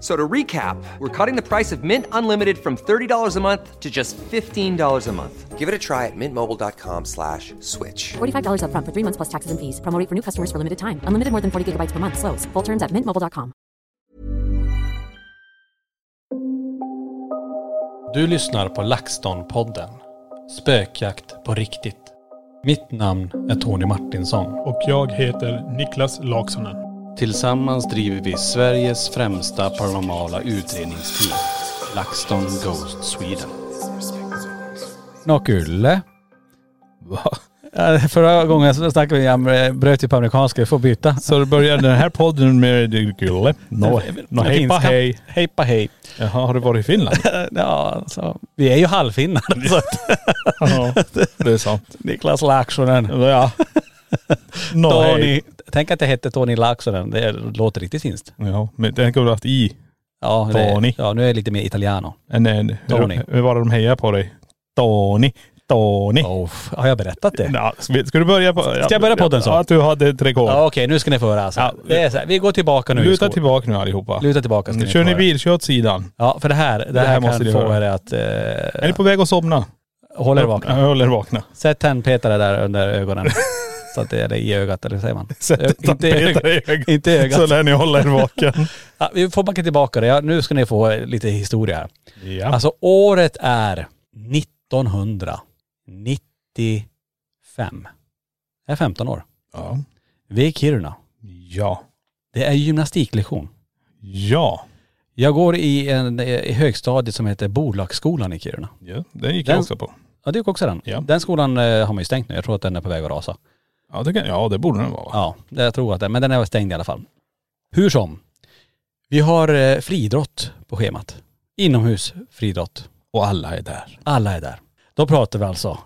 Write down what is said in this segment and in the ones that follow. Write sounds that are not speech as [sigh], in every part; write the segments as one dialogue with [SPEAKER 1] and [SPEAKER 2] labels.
[SPEAKER 1] So to recap, we're cutting the price of Mint Unlimited from $30 a month to just $15 a month. Give it a try at mintmobile.com slash switch.
[SPEAKER 2] $45 up front for three months plus taxes and fees. Promo rate for new customers for limited time. Unlimited more than 40 gigabytes per month. Slows. Full terms at mintmobile.com.
[SPEAKER 3] Du lyssnar på LaxTon-podden. Spökjakt på riktigt. Mitt namn är Tony Martinsson.
[SPEAKER 4] Och jag heter Niklas Laksonen.
[SPEAKER 3] Tillsammans driver vi Sveriges främsta paranormala utredningsteam. LaxTon Ghost Sweden.
[SPEAKER 5] Nakulle. Va? Ja, Förra gången så snackade vi om, eh, bröt ju på amerikanska, du får byta.
[SPEAKER 4] Så då börjar den här podden med Gulle. No, no, hejpa
[SPEAKER 5] Finska.
[SPEAKER 4] hej.
[SPEAKER 5] Hejpa hej.
[SPEAKER 4] Jaha, har du varit i
[SPEAKER 5] [laughs]
[SPEAKER 4] Finland?
[SPEAKER 5] Ja, alltså, vi är ju halvfinnar.
[SPEAKER 3] [laughs]
[SPEAKER 5] Så att
[SPEAKER 4] ja, det är sant.
[SPEAKER 5] Niklas Laaksonen.
[SPEAKER 4] Ja. No,
[SPEAKER 5] Tony.
[SPEAKER 4] hej.
[SPEAKER 5] Tänk att jag hette Tony Laaksonen. Det låter riktigt finskt.
[SPEAKER 4] Ja, men den kunde du haft i.
[SPEAKER 5] Ja, det-
[SPEAKER 4] Tony.
[SPEAKER 5] Ja, nu är jag lite mer italiano.
[SPEAKER 4] En, en,
[SPEAKER 5] Tony.
[SPEAKER 4] Hur, hur var det de hejar på dig? Tony. Tony.
[SPEAKER 5] Oh, har jag berättat det?
[SPEAKER 4] Ja, ska ska du börja på.. Ska
[SPEAKER 5] jag börja podden så?
[SPEAKER 4] Ja, att du hade ett rekord.
[SPEAKER 5] Ja, okej, nu ska ni få höra. Alltså.
[SPEAKER 4] Ja.
[SPEAKER 5] det är så här, vi går tillbaka nu. i
[SPEAKER 4] Luta
[SPEAKER 5] skolan.
[SPEAKER 4] tillbaka nu allihopa. Mm,
[SPEAKER 5] Luta tillbaka ska ni
[SPEAKER 4] Kör
[SPEAKER 5] få
[SPEAKER 4] ni
[SPEAKER 5] höra.
[SPEAKER 4] bil, kör åt sidan.
[SPEAKER 5] Ja, för det här, det här,
[SPEAKER 4] här måste
[SPEAKER 5] kan
[SPEAKER 4] ni
[SPEAKER 5] få
[SPEAKER 4] höra.
[SPEAKER 5] er att
[SPEAKER 4] Är ni
[SPEAKER 5] eh,
[SPEAKER 4] på väg att somna?
[SPEAKER 5] hålla er vakna.
[SPEAKER 4] Ja, Håll er vakna.
[SPEAKER 5] Sätt tandpetare där under
[SPEAKER 4] [laughs]
[SPEAKER 5] ögonen. så att det är i ögat, eller hur säger man? Ö-
[SPEAKER 4] Sätt
[SPEAKER 5] inte, i
[SPEAKER 4] tandpetare i
[SPEAKER 5] ögat.
[SPEAKER 4] ögat.
[SPEAKER 5] inte i ögat.
[SPEAKER 4] Så lär ni hålla er vaken.
[SPEAKER 5] Ja, vi får backa tillbaka det. Ja, nu ska ni få eh, lite historia här.
[SPEAKER 4] ja.
[SPEAKER 5] Alltså året är 1995. Jag är 15 år.
[SPEAKER 4] ja.
[SPEAKER 5] Vi är i Kiruna.
[SPEAKER 4] Ja.
[SPEAKER 5] Det är gymnastiklektion.
[SPEAKER 4] Ja.
[SPEAKER 5] Jag går i en eh, i högstadiet som heter Bolagsskolan i Kiruna.
[SPEAKER 4] ja. Den gick
[SPEAKER 5] Den-
[SPEAKER 4] jag också på.
[SPEAKER 5] Ja det är också den.
[SPEAKER 4] Ja.
[SPEAKER 5] Den skolan eh, har man ju stängt nu. Jag tror att den är på väg att rasa.
[SPEAKER 4] Ja det, kan, ja, det borde den vara. va?
[SPEAKER 5] Ja, det- jag tror att det, men den är stängd i alla fall. Hur som. Vi har eh, friidrott på schemat. Inomhus friidrott.
[SPEAKER 4] Och alla är där.
[SPEAKER 5] Alla är där. Då pratar vi
[SPEAKER 4] [laughs]
[SPEAKER 5] alltså.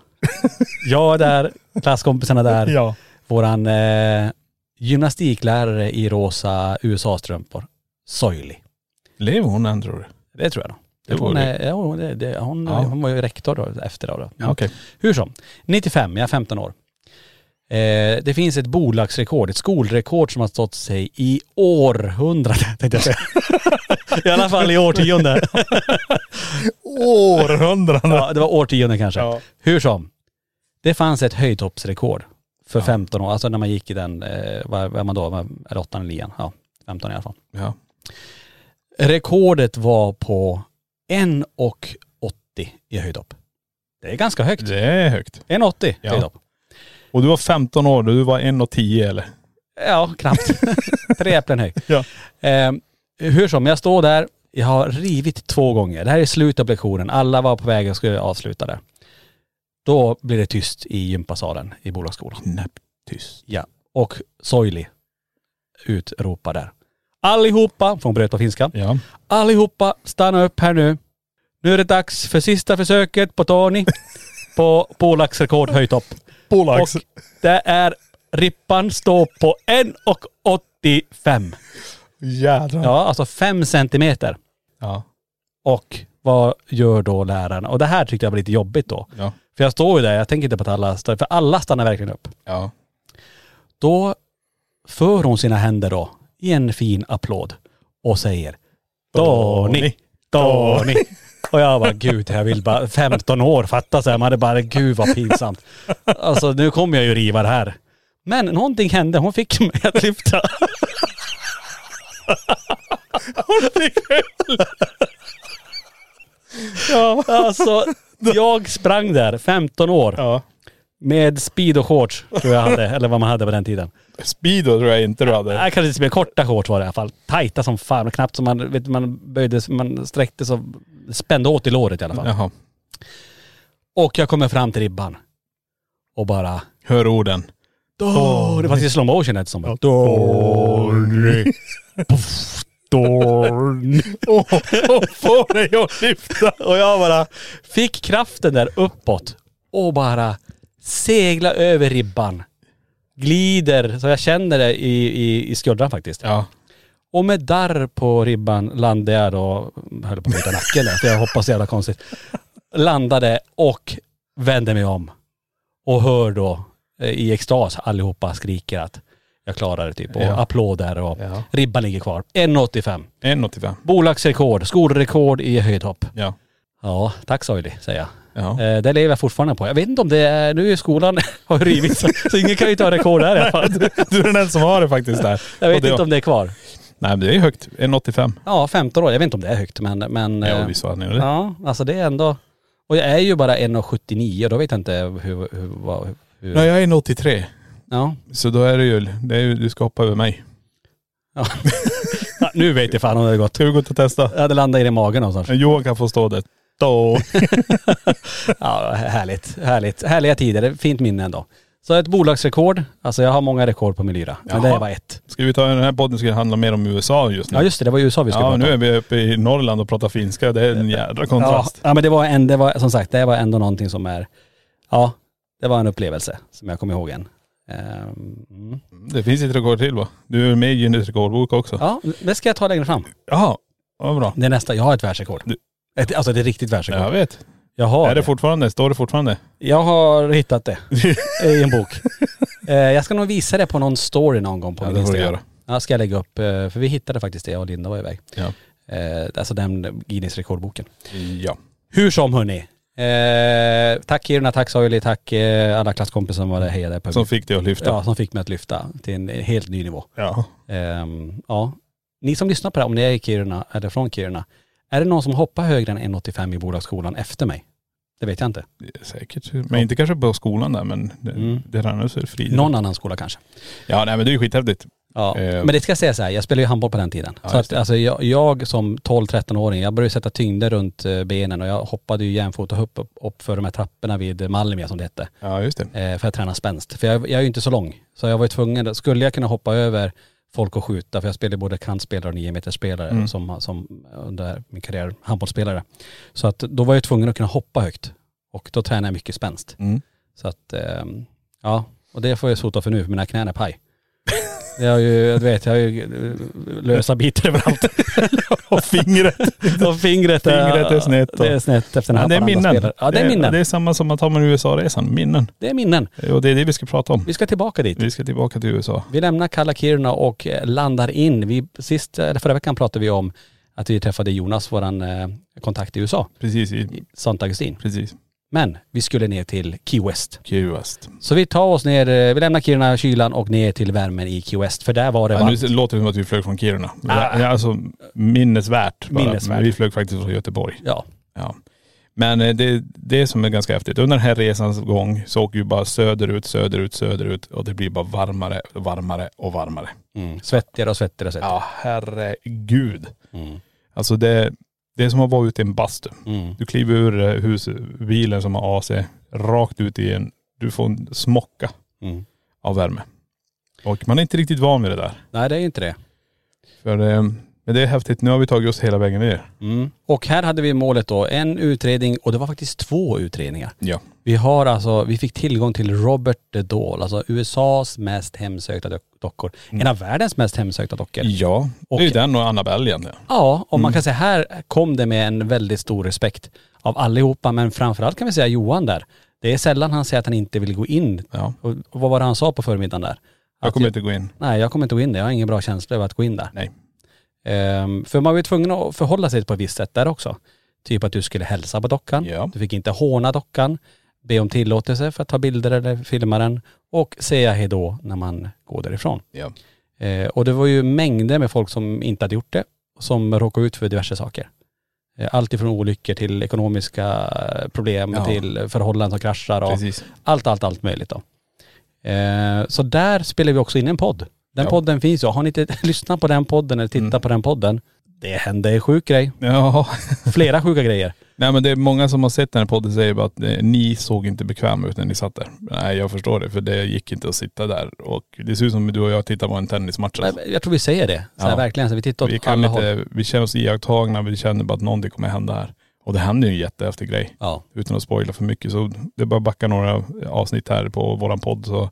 [SPEAKER 5] Jag är där, klasskompisarna där,
[SPEAKER 4] Ja.
[SPEAKER 5] våran eh, gymnastiklärare i rosa USA-strumpor, Soily.
[SPEAKER 4] Lever hon än tror du?
[SPEAKER 5] Det tror jag då.
[SPEAKER 4] Det
[SPEAKER 5] hon,
[SPEAKER 4] vore
[SPEAKER 5] är, ja, hon, det, det, hon,
[SPEAKER 4] Ja.
[SPEAKER 5] hon var ju rektor då, efter det. Då.
[SPEAKER 4] Ja, okej.
[SPEAKER 5] Hur som, 95, jag är 15 år. Eh, det finns ett bolagsrekord, ett skolrekord som har stått sig i århundraden, tänkte
[SPEAKER 4] [laughs]
[SPEAKER 5] jag säga. I alla fall i årtionde.
[SPEAKER 4] Århundraden.
[SPEAKER 5] Ja, det var årtionde kanske.
[SPEAKER 4] Ja.
[SPEAKER 5] Hur som, det fanns ett höjdhoppsrekord för 15 år, alltså när man gick i den, eh, vad vad är man då, Vad- är det åttan eller nian? Ja, 15 i alla fall.
[SPEAKER 4] Ja.
[SPEAKER 5] Rekordet var på 1,80 i höjdhopp. Det är ganska högt.
[SPEAKER 4] Det är högt.
[SPEAKER 5] 1,80
[SPEAKER 4] Ja.
[SPEAKER 5] höjdhopp.
[SPEAKER 4] Och du var 15 år då, du var 1,10 eller?
[SPEAKER 5] Ja, knappt.
[SPEAKER 4] [laughs]
[SPEAKER 5] Tre äpplen hög.
[SPEAKER 4] Ja.
[SPEAKER 5] Eh, hur som, jag står där, jag har rivit två gånger. Det här är slutet av lektionen. Alla var på väg och skulle avsluta det. Då blir det tyst i gympasalen i bolagsskolan.
[SPEAKER 4] Knäpptyst.
[SPEAKER 5] Ja. Och Soili utropar där. Allihopa, för hon bröt på finska.
[SPEAKER 4] Ja.
[SPEAKER 5] Allihopa, stanna upp här nu. Nu är det dags för sista försöket på
[SPEAKER 4] [laughs]
[SPEAKER 5] Tony på bolagsrekord höjdhopp.
[SPEAKER 4] Bolags.
[SPEAKER 5] Och det är, rippan står på 1,85.
[SPEAKER 4] Jädrar.
[SPEAKER 5] Ja, alltså 5 centimeter.
[SPEAKER 4] Ja.
[SPEAKER 5] Och vad gör då läraren? Och det här tyckte jag var lite jobbigt då.
[SPEAKER 4] Ja.
[SPEAKER 5] För jag står ju där, jag tänker inte på att alla stannar, för alla stannar verkligen upp.
[SPEAKER 4] Ja.
[SPEAKER 5] Då för hon sina händer då i en fin applåd och säger Tony, Tony. Och jag bara, gud, jag vill bara, 15 år, fatta så här. Man hade bara, gud vad pinsamt. Alltså nu kommer jag ju riva det här. Men någonting hände, hon fick mig att lyfta. ja, alltså jag sprang där, 15 år.
[SPEAKER 4] Ja.
[SPEAKER 5] Med speed och shorts tror jag hade, eller vad man hade på den tiden.
[SPEAKER 4] Speedo tror jag inte du hade.
[SPEAKER 5] Nej, Äh, kanske inte speed, korta shorts var det i alla fall. Tajta som fan, knappt som man, vet, du, man böjde, man sträckte så, spände åt i låret i alla fall.
[SPEAKER 4] Jaha.
[SPEAKER 5] Och jag kommer fram till ribban. Och bara..
[SPEAKER 4] Hör orden.
[SPEAKER 5] Åh, det var i slow motion lät det som.
[SPEAKER 4] Tony.
[SPEAKER 5] [laughs] Dorn.
[SPEAKER 4] Och får dig att lyfta.
[SPEAKER 5] Och jag bara fick kraften där uppåt och bara segla över ribban. Glider, så jag känner det i, i, i skuldran faktiskt.
[SPEAKER 4] Ja.
[SPEAKER 5] Och med darr på ribban landade jag då, höll på att bryta nacken där, för jag hoppas det är jävla konstigt. Landade och vände mig om. Och hör då eh, i extas allihopa skriker att jag klarar det typ. Och
[SPEAKER 4] Ja.
[SPEAKER 5] applåder och
[SPEAKER 4] Ja.
[SPEAKER 5] ribban ligger kvar. 1,85.
[SPEAKER 4] 1,85.
[SPEAKER 5] Bolagsrekord, skolrekord i höjdhopp.
[SPEAKER 4] Ja.
[SPEAKER 5] Ja, tack Soily, säger jag.
[SPEAKER 4] Ja.
[SPEAKER 5] Eh, det lever jag fortfarande på. Jag vet inte om det är, nu är skolan [laughs] har rivits, så ingen kan ju ta rekord där i alla
[SPEAKER 4] [laughs]
[SPEAKER 5] fall.
[SPEAKER 4] Du är den enda som har det faktiskt där.
[SPEAKER 5] Jag
[SPEAKER 4] Och
[SPEAKER 5] vet
[SPEAKER 4] det,
[SPEAKER 5] inte om det är kvar.
[SPEAKER 4] Nej men det är ju högt. 1,85.
[SPEAKER 5] Ja, 15 år. Jag vet inte om det är högt men.. men
[SPEAKER 4] Ja
[SPEAKER 5] eh,
[SPEAKER 4] visst var det nu det.
[SPEAKER 5] ja, alltså det är ändå.. Och jag är ju bara 1,79 och då vet jag inte hur.. hur, vad- hur
[SPEAKER 4] Nej jag är 1,83.
[SPEAKER 5] ja.
[SPEAKER 4] Så då är det ju, det är ju, du ska hoppa över mig.
[SPEAKER 5] ja. Nu vet jag fan om det har gått.
[SPEAKER 4] Ska vi gå till att testa?
[SPEAKER 5] Ja, det landar i det magen någonstans.
[SPEAKER 4] Johan kan få stå där. Då.
[SPEAKER 5] Ja, härligt. Härligt. Härliga tider. Fint minne ändå. Så ett bolagsrekord. Alltså jag har många rekord på min lyra. Men det
[SPEAKER 4] Jaha.
[SPEAKER 5] är bara ett.
[SPEAKER 4] Ska vi ta den här podden ska det handla mer om USA just nu.
[SPEAKER 5] Ja just det, det var USA vi skulle
[SPEAKER 4] Ja,
[SPEAKER 5] prata om.
[SPEAKER 4] nu är vi uppe i Norrland och pratar finska. Det är en jädra
[SPEAKER 5] Ja,
[SPEAKER 4] kontrast.
[SPEAKER 5] ja men det var, en, det var som sagt, det var ändå någonting som är.. Ja, det var en upplevelse som jag kommer ihåg än. Ehm, mm.
[SPEAKER 4] Det finns ett rekord till va? Du är med i Guinness rekordbok också.
[SPEAKER 5] Ja, det ska jag ta längre fram.
[SPEAKER 4] Jaha, vad bra.
[SPEAKER 5] Det är nästa, jag har ett världsrekord.
[SPEAKER 4] Du-
[SPEAKER 5] Ett, alltså det är riktigt världsrekord.
[SPEAKER 4] Jag vet.
[SPEAKER 5] Jag har
[SPEAKER 4] är det
[SPEAKER 5] det.
[SPEAKER 4] fortfarande? Står det fortfarande?
[SPEAKER 5] Jag har hittat
[SPEAKER 4] [laughs]
[SPEAKER 5] det i en bok. Eh, jag ska nog visa det på någon story någon gång på
[SPEAKER 4] Ja,
[SPEAKER 5] min
[SPEAKER 4] det får du
[SPEAKER 5] Instagram.
[SPEAKER 4] göra.
[SPEAKER 5] Ja, ska jag lägga upp. eh, För vi hittade faktiskt det, jag och Linda var iväg.
[SPEAKER 4] Ja.
[SPEAKER 5] Eh, Alltså den Guinness rekordboken.
[SPEAKER 4] Ja.
[SPEAKER 5] Hur som hörni. Eh, tack Kiruna, tack Soili, tack eh, alla klasskompisar som var där hejade på
[SPEAKER 4] Som fick dig att lyfta.
[SPEAKER 5] ja, som fick mig att lyfta till en helt ny nivå.
[SPEAKER 4] Ja.
[SPEAKER 5] Ehm, ja. Ni som lyssnar på det här, om ni är i Kiruna eller från Kiruna, är det någon som hoppar högre än 1,85 i bolagsskolan efter mig? Det vet jag inte.
[SPEAKER 4] Säkert. Men inte kanske på skolan där men det,
[SPEAKER 5] Mm.
[SPEAKER 4] det rann ut så är det frid.
[SPEAKER 5] Någon annan skola kanske.
[SPEAKER 4] Ja nej men det är ju skithäftigt.
[SPEAKER 5] Ja.
[SPEAKER 4] Eh.
[SPEAKER 5] Men det ska jag säga så här, jag spelade ju handboll på den tiden.
[SPEAKER 4] Ja,
[SPEAKER 5] så
[SPEAKER 4] just
[SPEAKER 5] att,
[SPEAKER 4] det.
[SPEAKER 5] alltså, jag, jag som 12-13-åring, jag började sätta tyngder runt eh, benen och jag hoppade ju järnfota upp, upp, upp för de här trapporna vid eh, Malmö som det hette.
[SPEAKER 4] Ja just det.
[SPEAKER 5] eh, för att träna spänst. För jag, jag är ju inte så lång. Så jag var ju tvungen, skulle jag kunna hoppa över folk och skjuta, för jag spelade både kantspelare och niometerspelare
[SPEAKER 4] Mm.
[SPEAKER 5] som, som under min karriär handbollsspelare. Så att då var jag tvungen att kunna hoppa högt. Och då tränade jag mycket spänst.
[SPEAKER 4] Mm.
[SPEAKER 5] Så att, ehm, ja. Och det får jag sota för nu, för mina knän är paj. Jag har ju, jag vet, jag har ju eh, lösa bitar överallt.
[SPEAKER 4] [laughs] Och fingret.
[SPEAKER 5] Och fingret är,
[SPEAKER 4] Fingret är snett och-
[SPEAKER 5] Det är snett efter den
[SPEAKER 4] Ja,
[SPEAKER 5] här
[SPEAKER 4] det är minnen.
[SPEAKER 5] Ja det är minnen.
[SPEAKER 4] Det är samma som att ta med USA-resan. Minnen.
[SPEAKER 5] Det är minnen.
[SPEAKER 4] Och det är det vi ska prata om.
[SPEAKER 5] Vi ska tillbaka dit.
[SPEAKER 4] Vi ska tillbaka till USA.
[SPEAKER 5] Vi lämnar kalla Kiruna och eh, landar in. Vi, sist, eh, eller förra veckan pratade vi om att vi träffade Jonas, våran eh, kontakt i USA,
[SPEAKER 4] Precis. i-
[SPEAKER 5] Sankt Augustin.
[SPEAKER 4] Precis.
[SPEAKER 5] Men vi skulle ner till Key West.
[SPEAKER 4] Key West.
[SPEAKER 5] Så vi tar oss ner, eh, vi lämnar Kiruna, kylan och ner till värmen i Key West. För där var det
[SPEAKER 4] Ja,
[SPEAKER 5] varmt.
[SPEAKER 4] nu låter det som att vi flög från Kiruna.
[SPEAKER 5] Ah.
[SPEAKER 4] Ja, Alltså minnesvärt. bara.
[SPEAKER 5] Minnesvärt.
[SPEAKER 4] Men Vi flög faktiskt från Göteborg.
[SPEAKER 5] Ja.
[SPEAKER 4] Ja. Men eh, det, det som är ganska häftigt, under den här resans gång så åker vi bara söderut, söderut, söderut och det blir bara varmare, varmare och varmare.
[SPEAKER 5] Mm. Svettigare och svettigare och svettigare.
[SPEAKER 4] Ja herregud.
[SPEAKER 5] Mm.
[SPEAKER 4] Alltså det, det är som att vara ute i en bastu.
[SPEAKER 5] Mm.
[SPEAKER 4] Du kliver ur eh, hus, bilen som har AC, rakt ut i en, du får en smocka
[SPEAKER 5] Mm.
[SPEAKER 4] av värme. Och man är inte riktigt van vid det där.
[SPEAKER 5] Nej det är inte det.
[SPEAKER 4] För, eh, men det är häftigt, nu har vi tagit oss hela vägen ner.
[SPEAKER 5] Mm. Och här hade vi målet då, en utredning och det var faktiskt två utredningar.
[SPEAKER 4] Ja.
[SPEAKER 5] Vi har alltså, vi fick tillgång till Robert the Doll, alltså USAs mest hemsökta do- dockor. En av världens mest hemsökta dockor.
[SPEAKER 4] Mm. Ja, Mm. det är ju
[SPEAKER 5] Och-
[SPEAKER 4] den och Annabelle egentligen.
[SPEAKER 5] Ja, och man kan säga här kom det med en väldigt stor respekt av allihopa, men framförallt kan vi säga Johan där. Det är sällan han säger att han inte vill gå in.
[SPEAKER 4] Ja.
[SPEAKER 5] Och och vad var det han sa på förmiddagen där?
[SPEAKER 4] Jag
[SPEAKER 5] Att
[SPEAKER 4] kommer inte gå in.
[SPEAKER 5] Nej, jag kommer inte gå in där. Jag har ingen bra känsla över att gå in där.
[SPEAKER 4] Nej.
[SPEAKER 5] Ehm, för man var ju tvungen att förhålla sig på ett visst sätt där också. Typ att du skulle hälsa på dockan.
[SPEAKER 4] Ja.
[SPEAKER 5] Du fick inte håna dockan, be om tillåtelse för att ta bilder eller filma den och säga hejdå när man går därifrån.
[SPEAKER 4] Ja.
[SPEAKER 5] Eh, och det var ju mängder med folk som inte hade gjort det, som råkade ut för diverse saker. Eh, allt ifrån olyckor till ekonomiska eh, problem,
[SPEAKER 4] Ja.
[SPEAKER 5] till förhållanden som kraschar och
[SPEAKER 4] Precis.
[SPEAKER 5] allt, allt, allt möjligt då. Eh, så där spelar vi också in en podd. Den
[SPEAKER 4] Ja. Mm.
[SPEAKER 5] podden finns ju. Har ni inte [laughs] lyssnat på den podden eller tittat på den podden, det hände en sjuk grej.
[SPEAKER 4] Ja.
[SPEAKER 5] Flera sjuka grejer.
[SPEAKER 4] Nej men det är många som har sett den här podden säger bara att eh, ni såg inte bekväma ut när ni satt där. Nej jag förstår det för det gick inte att sitta där och det ser ut som du och jag tittar på en tennismatch.
[SPEAKER 5] Nej,
[SPEAKER 4] alltså.
[SPEAKER 5] Jag tror vi säger det. Så här,
[SPEAKER 4] Ja.
[SPEAKER 5] Verkligen. Så vi tittar åt
[SPEAKER 4] Vi, kan
[SPEAKER 5] alla håll.
[SPEAKER 4] inte, vi känner oss iakttagna, vi känner bara att någonting kommer hända här. Och det händer ju en jättehäftig grej.
[SPEAKER 5] Ja.
[SPEAKER 4] Utan att spoila för mycket så det är bara att backa några avsnitt här på våran podd så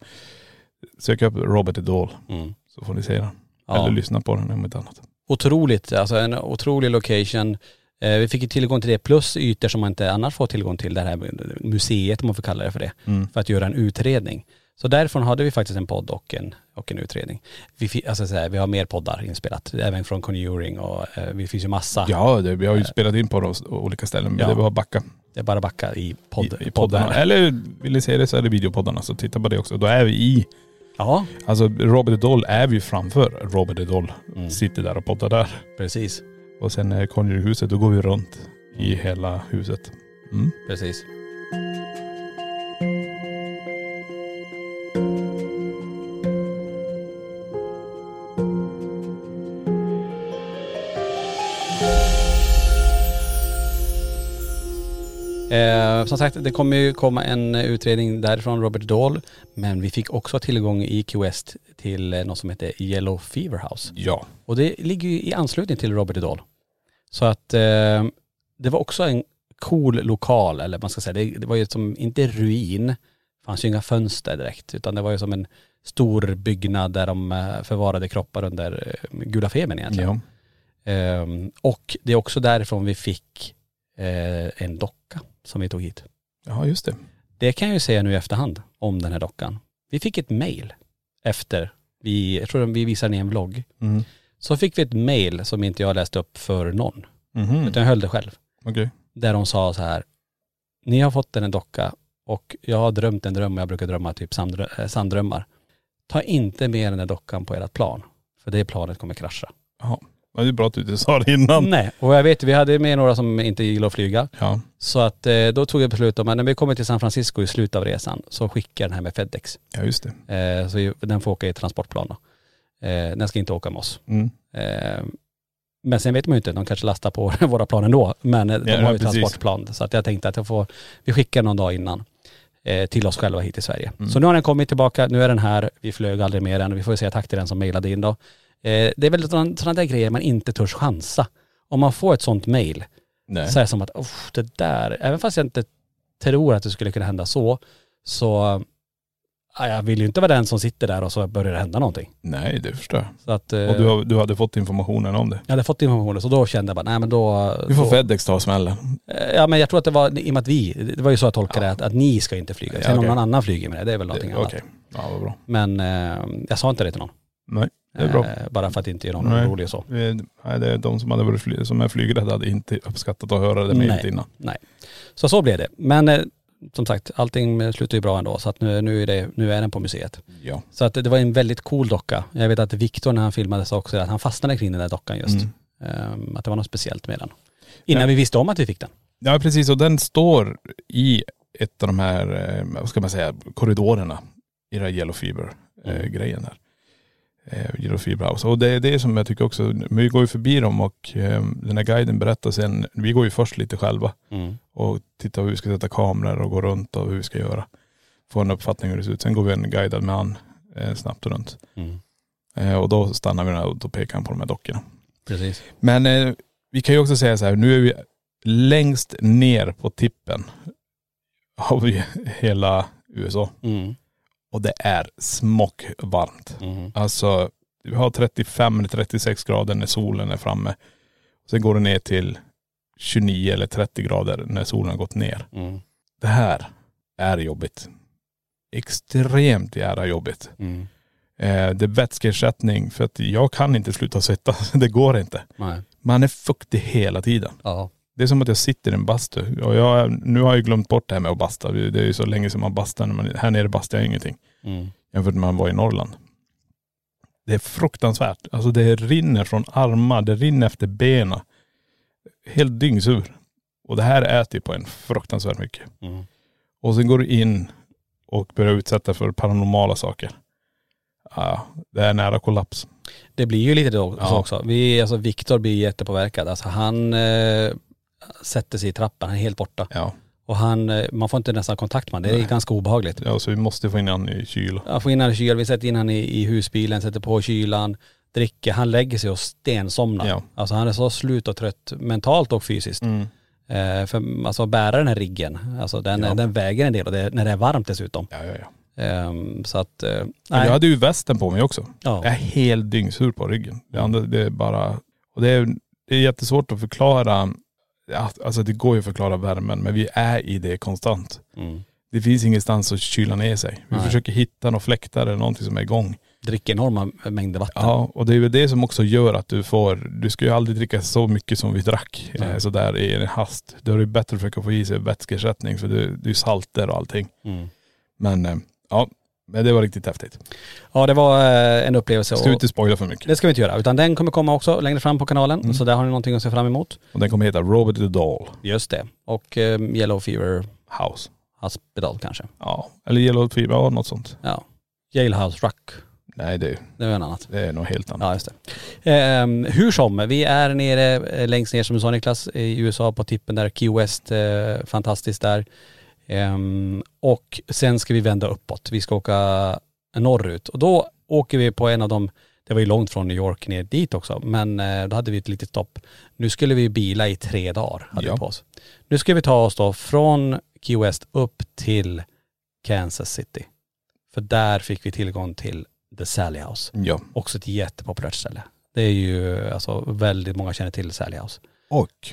[SPEAKER 4] sök upp Robert Idol
[SPEAKER 5] Mm.
[SPEAKER 4] så får ni se den. Eller lyssna på den om inte annat.
[SPEAKER 5] Otroligt, alltså en otrolig location. Eh, vi fick ju tillgång till det plus ytor som man inte annars får tillgång till, det här museet om man får kalla det för det,
[SPEAKER 4] Mm.
[SPEAKER 5] för att göra en utredning. Så därifrån hade vi faktiskt en podd och en, och en utredning. Vi, fi- alltså så här, vi har mer poddar inspelat, även från Conjuring och eh, vi finns ju massa.
[SPEAKER 4] Ja, det, vi har ju spelat in på de s- olika ställen men
[SPEAKER 5] Ja.
[SPEAKER 4] det var backa
[SPEAKER 5] Det är bara backa i, podd,
[SPEAKER 4] i, i poddarna.
[SPEAKER 5] poddarna.
[SPEAKER 4] Eller vill ni se det så är det videopoddarna så titta på det också. Då är vi i,
[SPEAKER 5] Ja,
[SPEAKER 4] alltså Robert Doll är vi ju framför Robert Doll. Sitter där och poddar där.
[SPEAKER 5] precis.
[SPEAKER 4] Och sen är Conjuringhuset, då går vi runt i hela huset.
[SPEAKER 5] precis. Eh, som sagt, det kommer ju komma en eh, utredning därifrån, Robert Dahl. Men vi fick också tillgång i Key West till eh, något som heter Yellow Fever House.
[SPEAKER 4] Ja.
[SPEAKER 5] Och det ligger ju i anslutning till Robert Dahl. Så att eh, det var också en cool lokal, eller man ska säga, det, det var ju som, inte ruin, fanns ju inga fönster direkt, utan det var ju som en stor byggnad där de eh, förvarade kroppar under eh, gula febern egentligen.
[SPEAKER 4] ja.
[SPEAKER 5] Ehm, och det är också därifrån vi fick eh, en docka som vi tog hit.
[SPEAKER 4] Ja, just det.
[SPEAKER 5] Det kan jag ju säga nu i efterhand om den här dockan. Vi fick ett mail efter, vi, jag tror vi visade den i en vlogg.
[SPEAKER 4] Mm.
[SPEAKER 5] Så fick vi ett mail som inte jag läste upp för någon,
[SPEAKER 4] Mhm.
[SPEAKER 5] utan jag höll det själv.
[SPEAKER 4] Okej.
[SPEAKER 5] Där de sa så här, ni har fått en docka och jag har drömt en dröm och jag brukar drömma typ sanddrö- eh, sanddrömmar. Ta inte med den här dockan på ert plan, för det planet kommer krascha.
[SPEAKER 4] Ja. Men det är bra att du inte sa det innan.
[SPEAKER 5] Nej, och jag vet, vi hade med några som inte gillar att flyga.
[SPEAKER 4] Ja.
[SPEAKER 5] Så att eh, då tog jag beslut om att när vi kommer till San Francisco i slutet av resan så skickar jag den här med FedEx.
[SPEAKER 4] ja, just det.
[SPEAKER 5] Eh, så ju- den får åka i transportplan då. Eh, den ska inte åka med oss.
[SPEAKER 4] Mm.
[SPEAKER 5] Eh, Men sen vet man ju inte, de kanske lastar på [laughs] våra plan ändå. Men eh, de
[SPEAKER 4] Ja,
[SPEAKER 5] har ju
[SPEAKER 4] precis.
[SPEAKER 5] transportplan. Så att jag tänkte att jag får, vi skickar någon dag innan eh, till oss själva hit i Sverige.
[SPEAKER 4] Mm.
[SPEAKER 5] Så nu har den kommit tillbaka, nu är den här, vi flög aldrig med den. Vi får ju säga tack till den som mejlade in då. Eh, Det är väl sådana där grejer man inte törs chansa. Om man får ett sånt mejl,
[SPEAKER 4] Nej.
[SPEAKER 5] så är det som att "Uff, det där, även fast jag inte tror att det skulle kunna hända så, så ja, jag vill ju inte vara den som sitter där och så börjar det hända någonting.
[SPEAKER 4] Nej, det förstår jag.
[SPEAKER 5] Så att, eh,
[SPEAKER 4] Och du, har- du hade fått informationen om det.
[SPEAKER 5] jag hade fått informationen så då kände jag bara, nej men då..
[SPEAKER 4] Vi får
[SPEAKER 5] då
[SPEAKER 4] Fedex ta smällen.
[SPEAKER 5] Eh, Ja men jag tror att det var, i och med att vi, det var ju så jag tolkade det, att, att ni ska inte flyga.
[SPEAKER 4] Ja,
[SPEAKER 5] Sen
[SPEAKER 4] okej.
[SPEAKER 5] om någon annan flyger med det, det är väl någonting
[SPEAKER 4] Okej.
[SPEAKER 5] annat.
[SPEAKER 4] Ja, vad bra.
[SPEAKER 5] Men eh, jag sa inte det till någon.
[SPEAKER 4] Nej, det är bra.
[SPEAKER 5] Eh, bara för att inte göra någon
[SPEAKER 4] Nej.
[SPEAKER 5] orolig och så.
[SPEAKER 4] Eh, Nej, det är de som, hade varit fly- som är flygrädda hade inte uppskattat att höra det mejlet
[SPEAKER 5] Nej.
[SPEAKER 4] innan.
[SPEAKER 5] Nej. Så så blev det. Men eh, som sagt, allting slutar ju bra ändå. Så att nu, nu, är det, nu är den på museet.
[SPEAKER 4] Ja.
[SPEAKER 5] Så att det var en väldigt cool docka. Jag vet att Viktor när han filmade sa också att han fastnade kring den där dockan just.
[SPEAKER 4] Mm.
[SPEAKER 5] Eh, att det var något speciellt med den. Innan
[SPEAKER 4] Ja.
[SPEAKER 5] vi visste om att vi fick den.
[SPEAKER 4] Ja precis, och den står i ett av de här, eh, vad ska man säga, korridorerna i den här Yellow
[SPEAKER 5] Mm.
[SPEAKER 4] Fever-grejen där. Eh, Yellow Fever House. Och det är det som jag tycker också, men vi går ju förbi dem och eh, den här guiden berättar sen, vi går ju först lite själva och tittar hur vi ska sätta kameror och gå runt och hur vi ska göra. Få en uppfattning hur det ser ut. Sen går vi en guidad med han eh, snabbt runt.
[SPEAKER 5] Mm.
[SPEAKER 4] Eh, och då stannar vi där och då pekar han på de här dockorna.
[SPEAKER 5] Precis.
[SPEAKER 4] Men eh, vi kan ju också säga så här, nu är vi längst ner på tippen av [laughs] vi- hela USA.
[SPEAKER 5] Mm.
[SPEAKER 4] Och det är smockvarmt.
[SPEAKER 5] Mm.
[SPEAKER 4] Alltså, vi har 35 eller 36 grader när solen är framme. Sen går det ner till 29 eller 30 grader när solen har gått ner.
[SPEAKER 5] Mm.
[SPEAKER 4] Det här är jobbigt. Extremt jävla jobbigt.
[SPEAKER 5] Mm.
[SPEAKER 4] Eh, det är vätskeersättning för att jag kan inte sluta svettas. [laughs] Det går inte.
[SPEAKER 5] Nej.
[SPEAKER 4] Man är fuktig hela tiden.
[SPEAKER 5] Ja.
[SPEAKER 4] Det är som att jag sitter i en bastu. Och jag, nu har jag ju glömt bort det här med att basta. Det är ju så länge sedan man bastade. Men här nere bastar jag ingenting
[SPEAKER 5] Mm.
[SPEAKER 4] jämfört med när man var i Norrland. Det är fruktansvärt. Alltså det rinner från armar, det rinner efter benen. Helt dyngsur. Och det här äter ju på en fruktansvärt mycket.
[SPEAKER 5] Mm.
[SPEAKER 4] Och sen går du in och börjar utsätta för paranormala saker. Ja, det är nära kollaps.
[SPEAKER 5] Det blir ju lite då,
[SPEAKER 4] Ja.
[SPEAKER 5] så också. Vi, alltså Viktor blir jättepåverkad. Alltså han eh, sätter sig i trappan, han är helt borta.
[SPEAKER 4] Ja.
[SPEAKER 5] Och han, eh, man får inte nästan kontakt med honom. Det är ganska obehagligt.
[SPEAKER 4] ja, så alltså, vi måste få in han i kyl.
[SPEAKER 5] Jag får in honom i kyl, vi sätter in honom i, i husbilen, sätter på kylan, dricker, han lägger sig och stensomnar.
[SPEAKER 4] Ja. Mm.
[SPEAKER 5] Alltså han är så slut och trött mentalt och fysiskt. Eh, för alltså att bära den här riggen, alltså den, den väger en del och det, när det är varmt dessutom.
[SPEAKER 4] Ja, ja, ja.
[SPEAKER 5] Ehm, så att, eh,
[SPEAKER 4] Men
[SPEAKER 5] nej.
[SPEAKER 4] jag hade ju västen på mig också.
[SPEAKER 5] ja.
[SPEAKER 4] Jag är helt dyngsur på ryggen. Det andra, det är bara.. Och det är, det är jättesvårt att förklara. Ja, Alltså det går ju att förklara värmen, men vi är i det konstant.
[SPEAKER 5] Mm.
[SPEAKER 4] Det finns ingenstans att kyla ner sig. Vi
[SPEAKER 5] Nej.
[SPEAKER 4] försöker hitta någon fläktar eller någonting som är igång.
[SPEAKER 5] Dricker enorma mängder vatten.
[SPEAKER 4] Ja, och det är ju det som också gör att du får, du ska ju aldrig dricka så mycket som vi drack eh, sådär i en hast. Då är det bättre att försöka få i sig vätskeersättning för det, det är ju salter och allting.
[SPEAKER 5] Mm.
[SPEAKER 4] Men eh, ja, men det var riktigt häftigt.
[SPEAKER 5] Ja det var eh, en upplevelse.
[SPEAKER 4] Ska vi
[SPEAKER 5] Och,
[SPEAKER 4] inte spoila för mycket.
[SPEAKER 5] det ska vi inte göra. Utan den kommer komma också längre fram på kanalen.
[SPEAKER 4] Mm.
[SPEAKER 5] Så där har ni någonting att se fram emot.
[SPEAKER 4] Och den kommer heta Robert the Doll
[SPEAKER 5] Just det. Och eh, Yellow Fever
[SPEAKER 4] House.
[SPEAKER 5] Hospital kanske.
[SPEAKER 4] Ja, eller Yellow Fever, ja något sånt.
[SPEAKER 5] Ja. Jailhouse Rock.
[SPEAKER 4] Nej det,
[SPEAKER 5] Det var en annat.
[SPEAKER 4] det är något helt annat.
[SPEAKER 5] Ja just det. Ehm, hur som, vi är nere eh, längst ner som du sa Niklas i USA på tippen där, Key West, eh, fantastiskt där. Ehm, och sen ska vi vända uppåt, vi ska åka norrut och då åker vi på en av de, det var ju långt från New York ner dit också, men eh, då hade vi ett litet stopp. Nu skulle vi bila i tre dagar, hade
[SPEAKER 4] Ja.
[SPEAKER 5] vi på oss. Nu ska vi ta oss då från Key West upp till Kansas City. För där fick vi tillgång till The Sally House.
[SPEAKER 4] Ja.
[SPEAKER 5] Också ett jättepopulärt ställe. Det är ju, alltså väldigt många känner till Sally House.
[SPEAKER 4] Och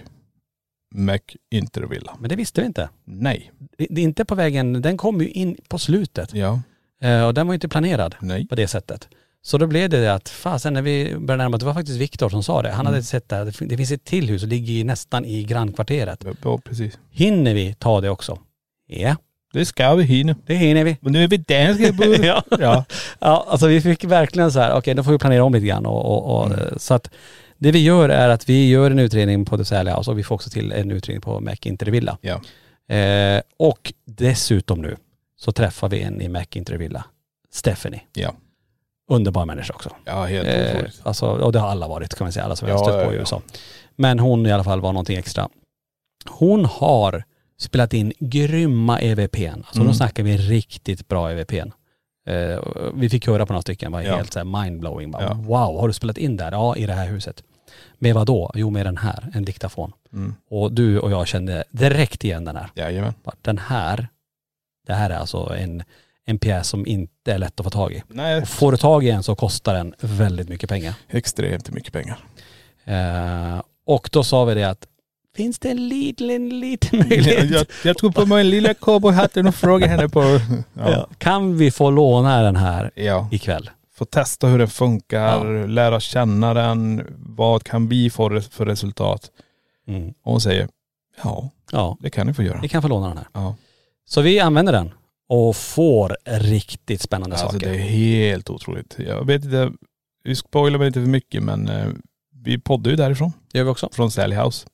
[SPEAKER 4] Mac Intervilla.
[SPEAKER 5] Men det visste vi inte.
[SPEAKER 4] Nej.
[SPEAKER 5] Det det är inte på vägen, den kom ju in på slutet.
[SPEAKER 4] Ja.
[SPEAKER 5] Eh, Och den var ju inte planerad
[SPEAKER 4] Nej.
[SPEAKER 5] på det sättet. Så då blev det det att, fasen när vi började närma oss, det var faktiskt Viktor som sa det. Han hade sett det, här, det fin- det finns ett till hus och ligger ju nästan i grannkvarteret.
[SPEAKER 4] Ja precis.
[SPEAKER 5] Hinner vi ta det också? Ja,
[SPEAKER 4] Det ska vi hinna.
[SPEAKER 5] det hinner vi.
[SPEAKER 4] Och nu är vi [laughs] danska
[SPEAKER 5] ja.
[SPEAKER 4] Ja.
[SPEAKER 5] Ja, alltså vi fick verkligen så här, okej då får vi planera om lite grann och, och,
[SPEAKER 4] Mm.
[SPEAKER 5] och eh, så att det vi gör är att vi gör en utredning på The Sally House och vi får också till en utredning på Mac Intervilla.
[SPEAKER 4] Ja.
[SPEAKER 5] Eh, och dessutom nu så träffar vi en i Mac Intervilla, Stephanie.
[SPEAKER 4] Ja.
[SPEAKER 5] Underbar människa också.
[SPEAKER 4] Ja helt
[SPEAKER 5] Eh,
[SPEAKER 4] otroligt.
[SPEAKER 5] alltså, och det har alla varit kan man säga, alla som vi har
[SPEAKER 4] Ja,
[SPEAKER 5] stött
[SPEAKER 4] ja,
[SPEAKER 5] på i
[SPEAKER 4] ja.
[SPEAKER 5] USA. Men hon i alla fall var någonting extra. Hon har spelat in grymma EVPn. Alltså
[SPEAKER 4] Mm.
[SPEAKER 5] då snackar vi riktigt bra EVPn. Eh, och vi fick höra på några stycken, var
[SPEAKER 4] Ja.
[SPEAKER 5] helt så här mindblowing. Bara,
[SPEAKER 4] Ja.
[SPEAKER 5] Wow, har du spelat in där? Ja, i det här huset. Med vad då? Jo, med den här, en diktafon.
[SPEAKER 4] Mm.
[SPEAKER 5] Och du och jag kände direkt igen den här.
[SPEAKER 4] Jajamän.
[SPEAKER 5] Bara, Den här, det här är alltså en, en pjäs som inte är lätt att få tag i.
[SPEAKER 4] Nej.
[SPEAKER 5] Och får du tag i en så kostar den väldigt mycket pengar.
[SPEAKER 4] Extremt mycket [laughs] pengar.
[SPEAKER 5] Eh, och då sa vi det att finns det en liten,
[SPEAKER 4] [laughs]
[SPEAKER 5] liten möjlighet?
[SPEAKER 4] tog på mig en lilla cowboyhatten och frågade henne på.. Ja.
[SPEAKER 5] Ja. Kan vi få låna den här
[SPEAKER 4] ja.
[SPEAKER 5] ikväll?
[SPEAKER 4] Få testa hur den funkar, lära känna den, vad kan vi få re- för resultat.
[SPEAKER 5] Mm.
[SPEAKER 4] Och hon säger, ja
[SPEAKER 5] Ja,
[SPEAKER 4] det kan ni få göra.
[SPEAKER 5] vi kan få låna den här.
[SPEAKER 4] Ja.
[SPEAKER 5] Så vi använder den och får riktigt spännande
[SPEAKER 4] Alltså
[SPEAKER 5] saker.
[SPEAKER 4] det är helt otroligt. Jag vet inte, vi spoilar väl inte för mycket men eh, vi poddar ju därifrån,
[SPEAKER 5] Det gör vi också.
[SPEAKER 4] från Sally House.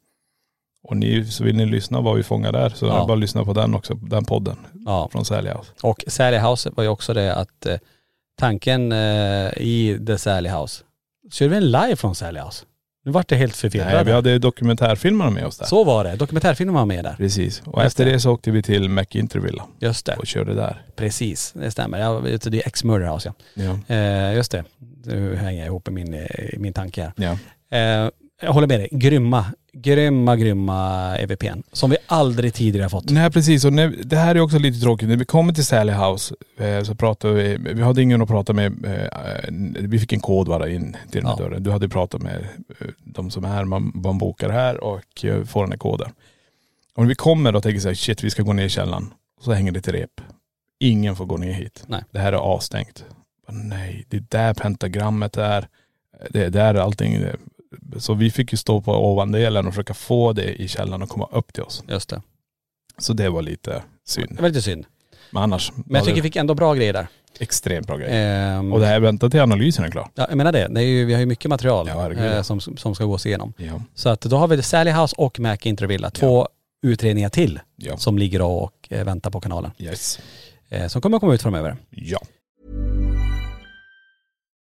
[SPEAKER 4] Och ni, så vill ni lyssna vad vi fångar där så
[SPEAKER 5] Ja.
[SPEAKER 4] bara lyssna på den också, den podden
[SPEAKER 5] Ja.
[SPEAKER 4] från Sally House.
[SPEAKER 5] Och Sally House var ju också det att eh, tanken eh, i The Sally House, körde vi en live från Sally House? Nu vart det helt
[SPEAKER 4] Nej, vi
[SPEAKER 5] förvirrad.
[SPEAKER 4] hade dokumentärfilmerna med oss där.
[SPEAKER 5] Så var det. Dokumentärfilmen var med där.
[SPEAKER 4] Precis. Och
[SPEAKER 5] Just
[SPEAKER 4] efter
[SPEAKER 5] det.
[SPEAKER 4] det så åkte vi till McIntervilla
[SPEAKER 5] Just det.
[SPEAKER 4] och körde där.
[SPEAKER 5] Precis, det stämmer. Jag, vet du, det är X-Murder House ja.
[SPEAKER 4] Ja.
[SPEAKER 5] Eh, just det, nu hänger jag ihop i min, eh, min tanke här.
[SPEAKER 4] Ja.
[SPEAKER 5] Eh, jag håller med dig, grymma, grymma, grymma EVPn. Som vi aldrig tidigare har fått.
[SPEAKER 4] Nej precis, och när, det här är också lite tråkigt. När vi kommer till Sally House eh, så pratade vi, vi hade ingen att prata med, eh, vi fick en kod bara in till den här
[SPEAKER 5] Ja.
[SPEAKER 4] dörren. Du hade pratat med eh, de som är här, man, man bokar här och eh, får den här koden. Och när vi kommer och tänker så här, shit vi ska gå ner i källaren. Så hänger det ett rep. Ingen får gå ner hit.
[SPEAKER 5] Nej.
[SPEAKER 4] Det här är avstängt. Bara, Nej, det är där pentagrammet är. Det är där allting är. Så vi fick ju stå på ovandelen och försöka få det i källaren och komma upp till oss.
[SPEAKER 5] Just det.
[SPEAKER 4] Så det var lite synd.
[SPEAKER 5] Det var lite synd.
[SPEAKER 4] Men annars
[SPEAKER 5] Men jag tycker vi fick ändå bra grejer där.
[SPEAKER 4] extremt bra grejer.
[SPEAKER 5] Ehm,
[SPEAKER 4] Och det här väntar till analysen är klar.
[SPEAKER 5] ja, jag menar det, det är ju, vi har ju mycket material
[SPEAKER 4] Ja, herregud.
[SPEAKER 5] eh, som, som ska gås igenom.
[SPEAKER 4] Ja.
[SPEAKER 5] Så att då har vi Sally House och Mac Intervilla, två utredningar till
[SPEAKER 4] Ja.
[SPEAKER 5] som ligger och eh, väntar på kanalen.
[SPEAKER 4] Yes.
[SPEAKER 5] Eh, som kommer att komma ut framöver.
[SPEAKER 4] Ja.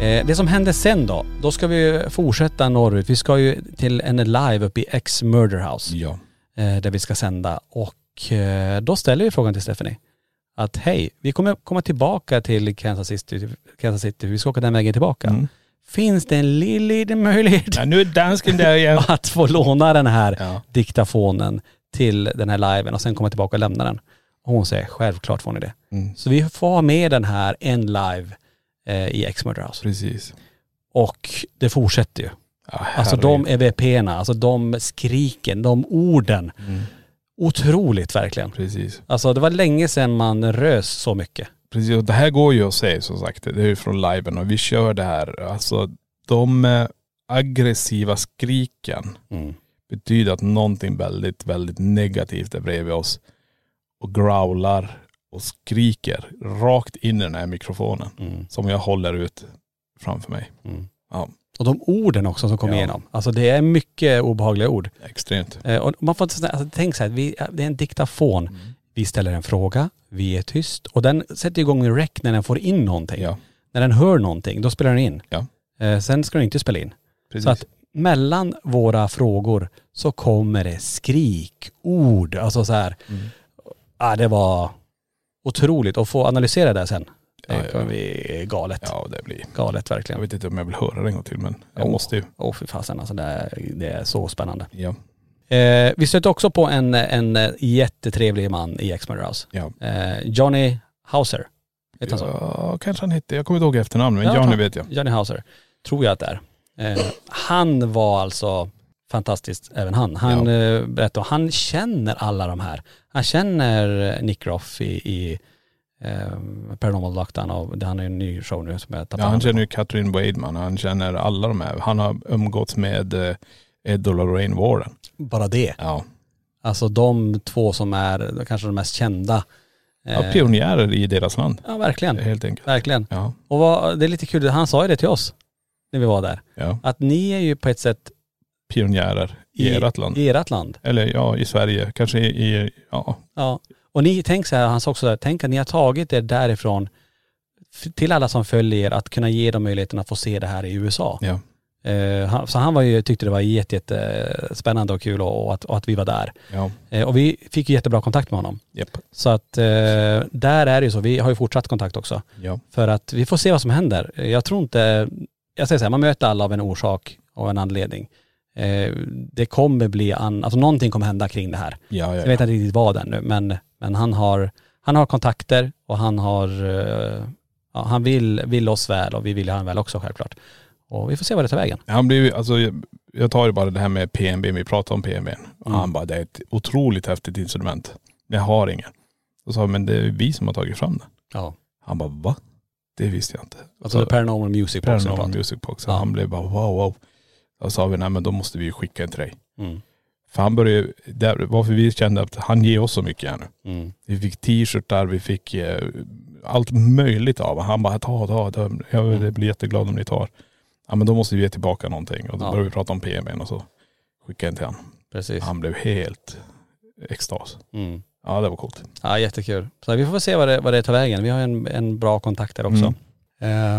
[SPEAKER 5] Eh, det som hände sen då, då ska vi fortsätta norrut. Vi ska ju till en live uppe i X Murder House
[SPEAKER 4] Ja.
[SPEAKER 5] eh, där vi ska sända. Och eh, då ställer vi frågan till Stephanie att hej, vi kommer komma tillbaka till Kansas City, Kansas City. vi ska åka den vägen tillbaka.
[SPEAKER 4] Mm.
[SPEAKER 5] Finns det en lill- liten möjlighet
[SPEAKER 4] ja nu är dansken där
[SPEAKER 5] [laughs]
[SPEAKER 4] igen.
[SPEAKER 5] att få låna den här
[SPEAKER 4] Ja.
[SPEAKER 5] diktafonen till den här liven och sen komma tillbaka och lämna den. Och hon säger självklart får ni det.
[SPEAKER 4] Mm.
[SPEAKER 5] Så vi får ha med den här en live eh, i X Murder House.
[SPEAKER 4] Precis.
[SPEAKER 5] Och det fortsätter ju. Alltså de EVP-erna, alltså de skriken, de orden.
[SPEAKER 4] Mm.
[SPEAKER 5] Otroligt verkligen.
[SPEAKER 4] Precis.
[SPEAKER 5] Alltså det var länge sedan man rös så mycket.
[SPEAKER 4] Precis, och det här går ju att se som sagt. Det är ju från liven och vi kör det här. Alltså de eh, aggressiva skriken betyder att någonting väldigt, väldigt negativt är bredvid oss och growlar och skriker rakt in i den här mikrofonen som jag håller ut framför mig. Ja,
[SPEAKER 5] Och de orden också som kom
[SPEAKER 4] Ja.
[SPEAKER 5] igenom. Alltså det är mycket obehagliga ord.
[SPEAKER 4] extremt.
[SPEAKER 5] Eh, och man får inte, sådär- alltså, tänk så här, vi, det är en diktafon.
[SPEAKER 4] Mm.
[SPEAKER 5] Vi ställer en fråga, vi är tyst och den sätter igång en rec när den får in någonting.
[SPEAKER 4] Ja.
[SPEAKER 5] När den hör någonting, då spelar den in.
[SPEAKER 4] Ja,
[SPEAKER 5] Eh, sen ska den inte spela in.
[SPEAKER 4] precis.
[SPEAKER 5] Så att mellan våra frågor så kommer det skrik, ord, alltså så här.
[SPEAKER 4] Mm.
[SPEAKER 5] Ah, det var otroligt. Och få analysera det sen, det
[SPEAKER 4] Ja, ja.
[SPEAKER 5] kommer bli galet.
[SPEAKER 4] Ja, det blir. Oh.
[SPEAKER 5] Galet
[SPEAKER 4] Jag
[SPEAKER 5] verkligen.
[SPEAKER 4] vet inte om jag vill höra det en gång till men jag
[SPEAKER 5] Åh.
[SPEAKER 4] måste ju.
[SPEAKER 5] Åh fy fasen alltså, det är, det är så spännande.
[SPEAKER 4] Ja,
[SPEAKER 5] Eh, vi stötte också på en, en eh, jättetrevlig man i X-Murder House.
[SPEAKER 4] ja.
[SPEAKER 5] Eh, Johnny Hauser. Vet
[SPEAKER 4] Alltså.
[SPEAKER 5] han så?
[SPEAKER 4] ja kanske han hette, jag kommer inte ihåg efternamn men
[SPEAKER 5] Ja,
[SPEAKER 4] Johnny
[SPEAKER 5] fan.
[SPEAKER 4] vet jag.
[SPEAKER 5] Johnny Hauser, tror jag att det är. Eh, han var alltså fantastisk även han. Han eh, berättade, han känner alla de här. Han känner Nick Roff i, i eh, Paranormal Lockdown och det- han har ju en ny show nu som jag tappar
[SPEAKER 4] Ja, han
[SPEAKER 5] namnet
[SPEAKER 4] känner
[SPEAKER 5] på.
[SPEAKER 4] ju Katrin Wademan, han känner alla de här. Han har umgåtts med eh, Ed och Lorraine Warren.
[SPEAKER 5] Bara det.
[SPEAKER 4] Ja.
[SPEAKER 5] Alltså de två som är kanske de mest kända. Eh,
[SPEAKER 4] ja Eh. pionjärer i deras land,
[SPEAKER 5] Ja, verkligen.
[SPEAKER 4] helt enkelt.
[SPEAKER 5] Verkligen.
[SPEAKER 4] Ja,
[SPEAKER 5] Och vad, det är lite kul, han sa ju det till oss när vi var där.
[SPEAKER 4] ja.
[SPEAKER 5] Att ni är ju på ett sätt
[SPEAKER 4] pionjärer i, ert land.
[SPEAKER 5] I ert land.
[SPEAKER 4] Eller ja, i Sverige, kanske i, i ja,
[SPEAKER 5] Ja. Och ni, tänk så här, han sa också så här, tänk att ni har tagit er därifrån f- till alla som följer er att kunna ge dem möjligheten att få se det här i USA.
[SPEAKER 4] ja,
[SPEAKER 5] Eh, han, så han var ju, tyckte det var jätte, jätte spännande och kul och, och, att, och att vi var där.
[SPEAKER 4] ja,
[SPEAKER 5] Eh, och vi fick ju jättebra kontakt med honom.
[SPEAKER 4] japp,
[SPEAKER 5] Så att eh, där är det ju så, vi har ju fortsatt kontakt också.
[SPEAKER 4] ja,
[SPEAKER 5] För att vi får se vad som händer. Eh, Jag tror inte, jag säger så här, man möter alla av en orsak och en anledning. Eh, det kommer bli, an, alltså någonting kommer hända kring det här.
[SPEAKER 4] ja,
[SPEAKER 5] Jag
[SPEAKER 4] ja,
[SPEAKER 5] vet
[SPEAKER 4] ja.
[SPEAKER 5] inte riktigt vad ännu, men, men han, har, han har kontakter och han har, eh, ja, han vill, vill oss väl och vi vill han väl också självklart. Och vi får se vad det tar vägen.
[SPEAKER 4] Han blev ju, alltså jag, jag tar ju bara det här med PMB, vi pratar om PMB. Och
[SPEAKER 5] Mm.
[SPEAKER 4] han bara, det är ett otroligt häftigt instrument. Jag har ingen. Då sa jag, men det är vi som har tagit fram det.
[SPEAKER 5] Ja.
[SPEAKER 4] Han bara, va? Det visste jag inte.
[SPEAKER 5] Alltså det är Paranormal Music på också.
[SPEAKER 4] Paranormal Music Box.
[SPEAKER 5] Ja.
[SPEAKER 4] Han blev bara wow, wow. Då sa vi, nej men då måste vi ju skicka en till dig.
[SPEAKER 5] Mm.
[SPEAKER 4] För han började ju, där, varför vi kände att han ger oss så mycket här nu.
[SPEAKER 5] Mm.
[SPEAKER 4] Vi fick t-shirtar, vi fick eh, allt möjligt av honom. Han bara, ta, ta, ta. Jag vill- blir jätteglad om ni tar. Ja men då måste vi ge tillbaka någonting. Och då
[SPEAKER 5] Ja.
[SPEAKER 4] började vi prata om PMN och så skickade jag en till honom.
[SPEAKER 5] Precis.
[SPEAKER 4] Han blev helt extas.
[SPEAKER 5] Mm.
[SPEAKER 4] Ja det var coolt.
[SPEAKER 5] Ja, jättekul. Så vi får se vad det, vad det tar vägen. Vi har en, en bra kontakt där också.
[SPEAKER 4] Mm.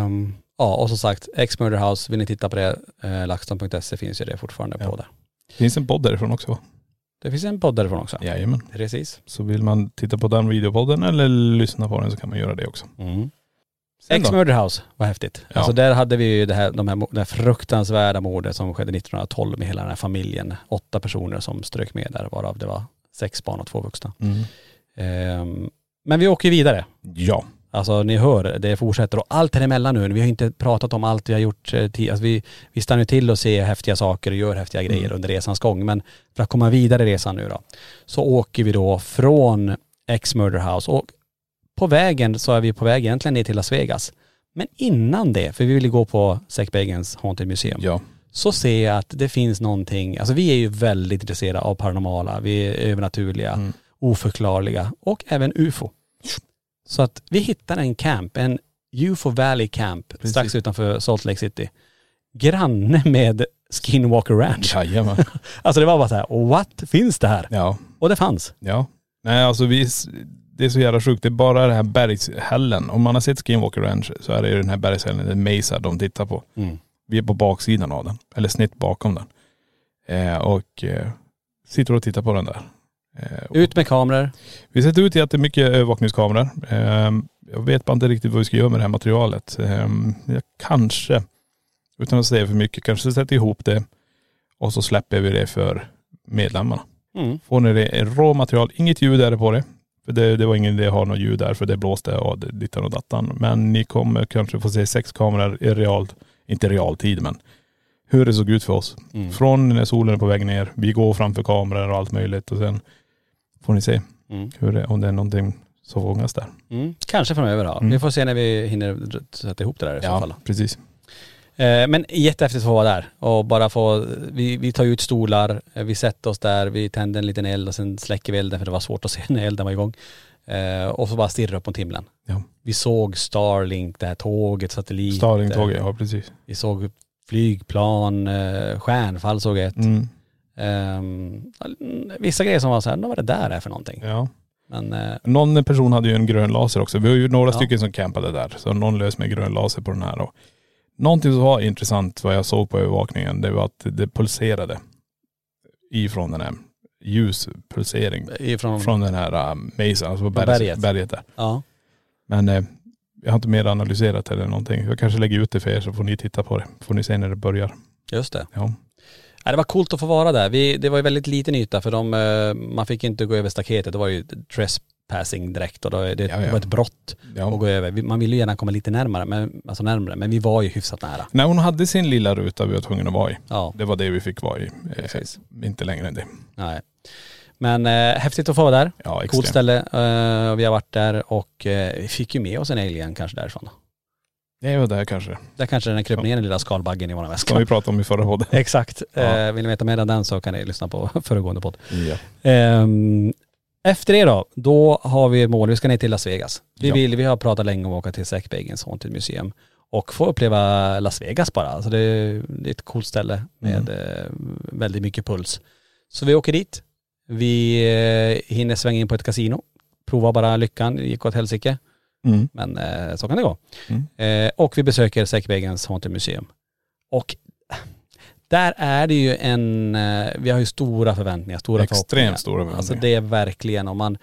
[SPEAKER 5] Ehm, ja, och som sagt, X-Murder House, vill ni titta på det, eh, laxton.se finns ju det fortfarande
[SPEAKER 4] Ja.
[SPEAKER 5] på där.
[SPEAKER 4] Finns en podd därifrån också va?
[SPEAKER 5] Det finns en podd därifrån också.
[SPEAKER 4] Jajamän.
[SPEAKER 5] Precis.
[SPEAKER 4] Så vill man titta på den videopodden eller lyssna på den så kan man göra det också.
[SPEAKER 5] Mm.
[SPEAKER 4] Sen då?
[SPEAKER 5] X-Murder House var häftigt.
[SPEAKER 4] Ja.
[SPEAKER 5] Alltså där hade vi ju det här, de här, mo- det här fruktansvärda mordet som skedde 1912 med hela den här familjen. Åtta personer som strök med där, varav det var sex barn och två vuxna.
[SPEAKER 4] Mm.
[SPEAKER 5] Ehm, men vi åker ju vidare.
[SPEAKER 4] Ja.
[SPEAKER 5] Alltså ni hör, det fortsätter och allt däremellan nu, vi har ju inte pratat om allt vi har gjort eh, ti- alltså, vi, vi stannar ju till och ser häftiga saker och gör häftiga grejer under resans gång. Men för att komma vidare i resan nu då, så åker vi då från X Murder House och På vägen så är vi på väg egentligen ner till Las Vegas. Men innan det, för vi ville gå på Zack Bagans Haunted Museum,
[SPEAKER 4] Ja.
[SPEAKER 5] så ser jag att det finns någonting, alltså vi är ju väldigt intresserade av paranormala, vi är övernaturliga, oförklarliga och även ufo. Så att vi hittar en camp, en UFO Valley Camp strax utanför Salt Lake City. Granne med Skinwalker Ranch.
[SPEAKER 4] Jajamän.
[SPEAKER 5] Alltså det var bara så här, what finns det här?
[SPEAKER 4] [laughs] Ja.
[SPEAKER 5] Och det fanns.
[SPEAKER 4] Ja. Nej alltså vi, det är så jävla sjukt. Det är bara den här bergshällen. Om man har sett Skinwalker Ranch så är det ju den här bergshällen, den Mesa de tittar på. Vi är på baksidan av den, eller snitt bakom den. Eh, och eh, sitter och tittar på den där. Eh, och
[SPEAKER 5] Ut med kameror.
[SPEAKER 4] Vi sätter ut jättemycket övervakningskameror. Eh, jag vet bara inte riktigt vad vi ska göra med det här materialet. Eh, jag kanske, utan att säga för mycket, kanske sätter ihop det och så släpper vi det för medlemmarna.
[SPEAKER 5] Mm.
[SPEAKER 4] Får ni det är råmaterial, inget ljud är det på det. För det, det var ingen idé att ha något ljud där för det blåste och det- dittan och dattan. Men ni kommer kanske få se sex kameror i real, inte realtid men hur det såg ut för oss.
[SPEAKER 5] Mm.
[SPEAKER 4] Från när solen är på väg ner, vi går framför kameror och allt möjligt och sen får ni se hur det, om det är någonting som fångas där.
[SPEAKER 5] Kanske framöver då. Vi får se när vi hinner sätta ihop det där i så fall.
[SPEAKER 4] precis.
[SPEAKER 5] Eh, Men jättehäftigt att få vara där och bara få, vi, vi tar ut stolar, eh, vi sätter oss där, vi tänder en liten eld och sen släcker vi elden för det var svårt att se [laughs] när elden var igång. Eh, och så bara stirra upp mot himlen.
[SPEAKER 4] Ja.
[SPEAKER 5] Vi såg Starlink, det här tåget, satelliter.
[SPEAKER 4] Starlingtåget, ja precis.
[SPEAKER 5] Vi såg flygplan, eh, stjärnfall såg jag ett.
[SPEAKER 4] Mm.
[SPEAKER 5] Ehm, vissa grejer som var så här, "Nå, vad det där är för någonting.
[SPEAKER 4] Ja.
[SPEAKER 5] Men eh,
[SPEAKER 4] Någon person hade ju en grön laser också. Vi var ju några
[SPEAKER 5] Ja.
[SPEAKER 4] stycken som campade där. Så någon lös med grön laser på den här. Och någonting som var intressant vad jag såg på övervakningen, det var att det pulserade ifrån den här ljuspulsering
[SPEAKER 5] ifrån,
[SPEAKER 4] från den här um, mejsen, alltså på
[SPEAKER 5] Från
[SPEAKER 4] berget.
[SPEAKER 5] berget.
[SPEAKER 4] berget. där.
[SPEAKER 5] ja.
[SPEAKER 4] Men eh, jag har inte mer analyserat eller någonting. Jag kanske lägger ut det för er så får ni titta på det. Får ni se när det börjar.
[SPEAKER 5] Just det.
[SPEAKER 4] Ja.
[SPEAKER 5] Ja, det var coolt att få vara där. Vi, det var ju väldigt liten yta för de, eh, man fick inte gå över staketet. Det var ju trespassing direkt och då, är det,
[SPEAKER 4] Ja, ja.
[SPEAKER 5] det var ett brott att
[SPEAKER 4] ja.
[SPEAKER 5] gå över. Vi- Man ville ju gärna komma lite närmare, men, alltså närmare, men vi var ju hyfsat nära.
[SPEAKER 4] När hon hade sin lilla ruta vi var tvungna att vara i.
[SPEAKER 5] Ja,
[SPEAKER 4] Det var det vi fick vara i. Eh,
[SPEAKER 5] Precis.
[SPEAKER 4] inte längre än det.
[SPEAKER 5] nej. Men eh, häftigt att få vara där.
[SPEAKER 4] Ja, extremt.
[SPEAKER 5] Coolt ställe. Eh, vi har varit där och eh, vi fick ju med oss en alien kanske därifrån.
[SPEAKER 4] Det var där kanske.
[SPEAKER 5] Där kanske den kröp
[SPEAKER 4] Ja.
[SPEAKER 5] ner den lilla skalbaggen i våra
[SPEAKER 4] [laughs] Som vi
[SPEAKER 5] väskor.
[SPEAKER 4] pratade om i förra podden.
[SPEAKER 5] Exakt.
[SPEAKER 4] Ja.
[SPEAKER 5] Eh, vill ni veta mer om den så kan ni lyssna på [laughs] föregående podd.
[SPEAKER 4] Ja.
[SPEAKER 5] Ehm, efter det då, då har vi ett mål, vi ska ner till Las Vegas. Vi,
[SPEAKER 4] Ja.
[SPEAKER 5] vill, vi har pratat länge om att åka till Zack Bagans Haunted Museum och få uppleva Las Vegas bara. Alltså det, det är ett coolt ställe med eh, väldigt mycket puls. Så vi åker dit, vi eh, hinner svänga in på ett kasino, prova bara lyckan, det gick åt helsike,
[SPEAKER 4] Mm.
[SPEAKER 5] men eh, så kan det gå.
[SPEAKER 4] Mm.
[SPEAKER 5] Eh, och vi besöker Zack Bagans Haunted Museum. Och eh, där är det ju en, eh, vi har ju stora förväntningar, stora förhoppningar.
[SPEAKER 4] Extremt stora
[SPEAKER 5] Alltså
[SPEAKER 4] förväntningar.
[SPEAKER 5] det är verkligen om man,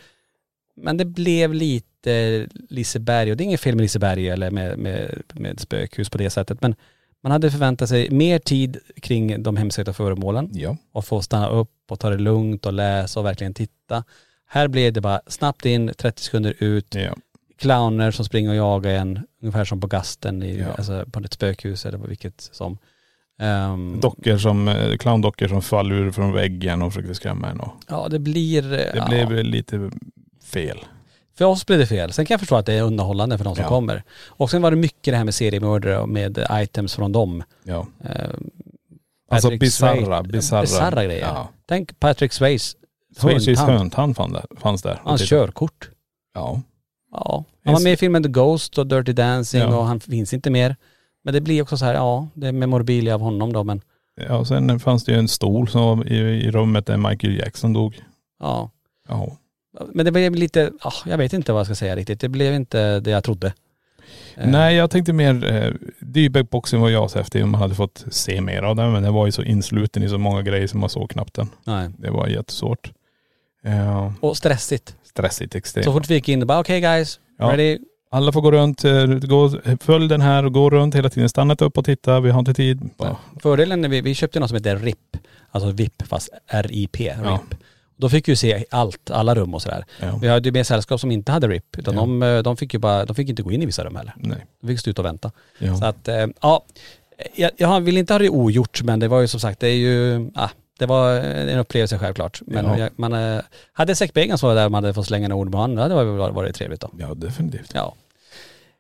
[SPEAKER 5] men det blev lite Liseberg och det är inget fel med Liseberg eller med, med, med spökhus på det sättet men man hade förväntat sig mer tid kring de hemsökta föremålen
[SPEAKER 4] Ja.
[SPEAKER 5] och få stanna upp och ta det lugnt och läsa och verkligen titta. Här blev det bara snabbt in, 30 sekunder ut,
[SPEAKER 4] ja.
[SPEAKER 5] clowner som springer och jagar en, ungefär som på Gasten i,
[SPEAKER 4] Ja.
[SPEAKER 5] alltså på ett spökhus eller på vilket som. Ehm,
[SPEAKER 4] Dockor som, eh, clowndockor som faller ur från väggen och försökte skrämma en. och-
[SPEAKER 5] ja det blir,
[SPEAKER 4] Det blev lite fel.
[SPEAKER 5] För oss blev det fel. Sen kan jag förstå att det är underhållande för de som
[SPEAKER 4] Ja.
[SPEAKER 5] kommer. Och sen var det mycket det här med seriemördare och med items från dem.
[SPEAKER 4] Ja.
[SPEAKER 5] Eh,
[SPEAKER 4] Alltså
[SPEAKER 5] Patrick
[SPEAKER 4] bisarra,
[SPEAKER 5] Swayze-
[SPEAKER 4] bisarra.
[SPEAKER 5] Bisarra grejer.
[SPEAKER 4] Ja.
[SPEAKER 5] Tänk Patrick Sways
[SPEAKER 4] Swayzes
[SPEAKER 5] hundtand.
[SPEAKER 4] höntand fann där- fanns där.
[SPEAKER 5] hans körkort.
[SPEAKER 4] Ja.
[SPEAKER 5] Ja. Han var med i filmen The Ghost och Dirty Dancing
[SPEAKER 4] Ja.
[SPEAKER 5] och han finns inte mer. Men det blir också så här, ja det är memorabilia av honom då men
[SPEAKER 4] ja. och Sen fanns det ju en stol som var i, i rummet där Michael Jackson dog.
[SPEAKER 5] ja.
[SPEAKER 4] Ja.
[SPEAKER 5] Men det blev lite, ah, jag vet inte vad jag ska säga riktigt. Det blev inte det jag trodde. Eh,
[SPEAKER 4] Nej jag tänkte mer, eh, Dybeck-boxen var ju ashäftig om man hade fått se mer av den. Men den var ju så insluten i så många grejer som man såg knappt den.
[SPEAKER 5] nej.
[SPEAKER 4] Det var jättesvårt. Eh,
[SPEAKER 5] Och stressigt.
[SPEAKER 4] stressigt extremt.
[SPEAKER 5] Så fort vi gick in, det bara okej guys,
[SPEAKER 4] Ja.
[SPEAKER 5] ready,
[SPEAKER 4] Alla får gå runt, eh, gå, följ den här och gå runt hela tiden. Stanna inte upp och titta, vi har inte tid. Bara,
[SPEAKER 5] Fördelen när vi, vi köpte något som heter RIP, alltså VIP fast RIP, RIP.
[SPEAKER 4] Ja.
[SPEAKER 5] Då fick vi ju se allt, alla rum och sådär.
[SPEAKER 4] ja.
[SPEAKER 5] Vi hade ju med sällskap som inte hade RIP, utan
[SPEAKER 4] Ja.
[SPEAKER 5] de, eh, de fick ju bara, de fick inte gå in i vissa rum heller.
[SPEAKER 4] Nej.
[SPEAKER 5] De fick stå ute och vänta. Så
[SPEAKER 4] Ja.
[SPEAKER 5] att, eh, ja, jag, jag vill inte ha det ogjort, men det var ju som sagt, det är ju, ah, det var en upplevelse självklart. Men
[SPEAKER 4] Ja.
[SPEAKER 5] jag, man, eh, hade Säckbegen så var där man hade fått slänga några ord med honom, det hade varit, varit trevligt då.
[SPEAKER 4] Ja definitivt.
[SPEAKER 5] Ja.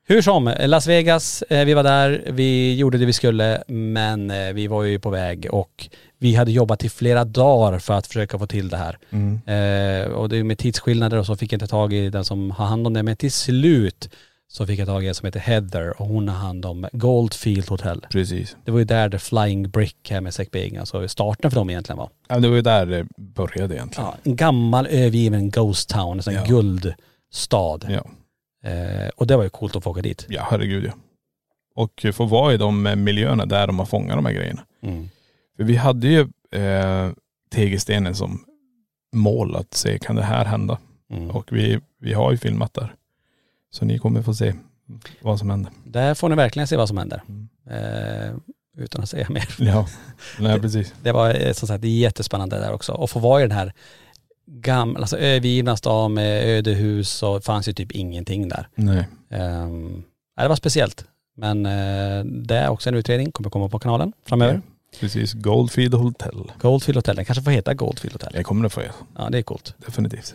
[SPEAKER 5] Hur som, eh, Las Vegas, eh, vi var där, vi gjorde det vi skulle, men eh, vi var ju på väg och vi hade jobbat i flera dagar för att försöka få till det här.
[SPEAKER 4] Mm.
[SPEAKER 5] Eh, och det är ju med tidsskillnader och så fick jag inte tag i den som har hand om det, men till slut så fick jag tag i en som heter Heather och hon har hand om Goldfield Hotel.
[SPEAKER 4] Precis.
[SPEAKER 5] Det var ju där The Flying Brick här med Zac Bagans alltså starten för dem egentligen var.
[SPEAKER 4] Ja, det var ju där det började egentligen.
[SPEAKER 5] Ja, en gammal övergiven ghost town, en sån
[SPEAKER 4] Ja.
[SPEAKER 5] guldstad.
[SPEAKER 4] Ja.
[SPEAKER 5] Eh, och det var ju coolt att få åka dit.
[SPEAKER 4] Ja herregud ja. Och få vara i de eh, miljöerna där de har fångat de här grejerna. För vi hade ju eh, tegelstenen som mål att se, kan det här hända?
[SPEAKER 5] Mm.
[SPEAKER 4] Och vi, vi har ju filmat där. Så ni kommer få se vad som händer.
[SPEAKER 5] Där får ni verkligen se vad som händer.
[SPEAKER 4] Mm.
[SPEAKER 5] Eh, utan att säga [laughs] mer.
[SPEAKER 4] Ja, nej precis.
[SPEAKER 5] Det var eh, som sagt jättespännande där också. Och få vara i den här gamla, alltså övergivna stan med ödehus och det fanns ju typ ingenting där.
[SPEAKER 4] Nej.
[SPEAKER 5] Ehm, nej, det var speciellt. Men eh, det är också en utredning, kommer komma på kanalen framöver.
[SPEAKER 4] Precis, Goldfield Hotel.
[SPEAKER 5] Goldfield Hotel, den kanske får heta Goldfield Hotel.
[SPEAKER 4] Det kommer det få, ja.
[SPEAKER 5] Ja det är coolt.
[SPEAKER 4] definitivt.